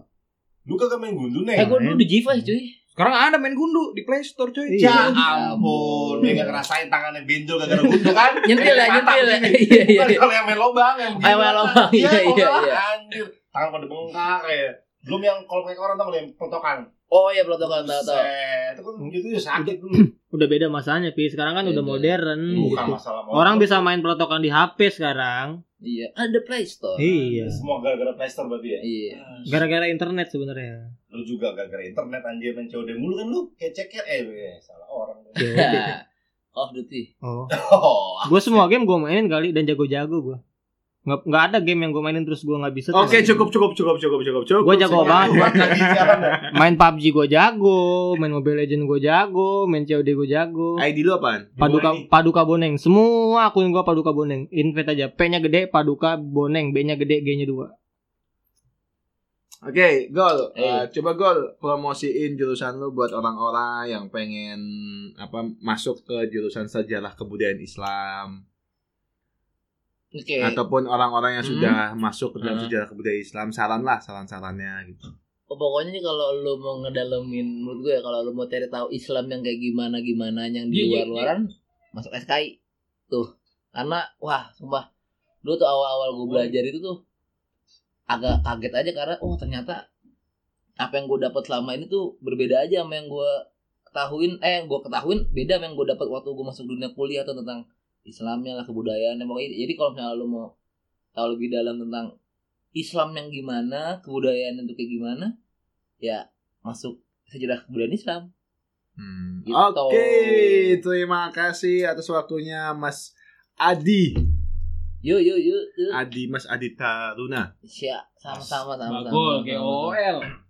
Speaker 5: Lu kagak main gundu,
Speaker 4: Eh,
Speaker 5: Neng?
Speaker 4: gue dulu di G5 cuy.
Speaker 2: Sekarang ada main gundu di Play Store cuy.
Speaker 3: Iya.
Speaker 5: Ya ampun, dia gak ngerasain tangannya benjol gara-gara gundu kan?
Speaker 4: Nyentil lah,
Speaker 5: Kayak
Speaker 4: nyentil lah.
Speaker 5: patah
Speaker 4: Iya, iya,
Speaker 5: begini. Bukan
Speaker 4: iya.
Speaker 5: Kalau yang main lobang, yang begini.
Speaker 4: Yang main lobang,
Speaker 5: Iya,
Speaker 4: iya, iya,
Speaker 5: lobang,
Speaker 4: iya.
Speaker 5: Anjir, tangan pada bengkak ya. Belum yang kalau kayak orang tau belum yang pelotokan.
Speaker 4: Oh iya, protokol tau tau.
Speaker 5: Buset, Itu kan gitu ya sakit dulu.
Speaker 3: Udah beda masalahnya, Pi. Sekarang kan udah
Speaker 4: Beda.
Speaker 3: modern.
Speaker 5: Bukan
Speaker 3: gitu.
Speaker 5: masalah mau.
Speaker 3: Orang bisa main protokan di HP sekarang.
Speaker 4: Iya, ada Play Store.
Speaker 3: Iya.
Speaker 5: Semua gara-gara plaster berarti ya?
Speaker 4: Iya.
Speaker 3: Gara-gara internet sebenarnya.
Speaker 5: Lu juga gara-gara internet anjir main COD mulu kan lu kayak ceker eh eh, salah orang.
Speaker 3: Iya.
Speaker 4: Nah, Call of Duty.
Speaker 3: Oh.
Speaker 5: Oh,
Speaker 3: Gue semua game gue mainin kali dan jago-jago gue. Nggak, nggak ada game yang gue mainin terus gue nggak bisa.
Speaker 1: Oke, cukup cukup cukup cukup cukup cukup.
Speaker 3: Gua jago
Speaker 1: Cukup.
Speaker 3: banget.
Speaker 5: lagi siaran ya?
Speaker 3: Main PUBG gue jago, main Mobile Legend gue jago, main COD gue jago.
Speaker 1: ID lu apaan?
Speaker 3: Paduka
Speaker 5: Gimana nih?
Speaker 3: Paduka Boneng. Semua akun gua Paduka Boneng. Invite aja. P-nya gede, Paduka Boneng, B-nya gede, G-nya dua.
Speaker 1: Oke, gol. Eh,
Speaker 4: Eh.
Speaker 1: coba gol promosiin jurusan lu buat orang-orang yang pengen apa masuk ke jurusan sejarah kebudayaan Islam
Speaker 4: Oke.
Speaker 1: ataupun orang-orang yang
Speaker 4: Eh. Hmm.
Speaker 1: sudah masuk ke dalam
Speaker 4: Hmm.
Speaker 1: sejarah kebudayaan Islam. Saran lah, saran-sarannya gitu.
Speaker 4: Oh, pokoknya nih kalau lu mau ngedalemin menurut gue ya kalau lu mau cari tahu Islam yang kayak gimana gimana
Speaker 2: Iya,
Speaker 4: yang di
Speaker 2: iya,
Speaker 4: luar-luaran masuk SKI tuh karena wah sumpah dulu tuh awal-awal gue belajar itu tuh agak kaget aja karena oh ternyata apa yang gue dapat selama ini tuh berbeda aja sama yang gue ketahuin eh yang gue ketahuin beda sama yang gue dapat waktu gue masuk dunia kuliah tuh tentang Islamnya lah kebudayaan pokoknya jadi kalau misalnya lu mau tahu lebih dalam tentang Islam yang gimana kebudayaan itu kayak gimana ya masuk sejarah kebudayaan Islam
Speaker 1: Hmm.
Speaker 4: Gitu.
Speaker 1: Oke, terima kasih atas waktunya Mas Adi.
Speaker 4: yuk yuk yuk yuk
Speaker 1: Adi Mas Adita Luna.
Speaker 4: Siap, sama-sama sama-sama
Speaker 2: Bagul, Oh,
Speaker 4: sama-sama.
Speaker 2: GOL.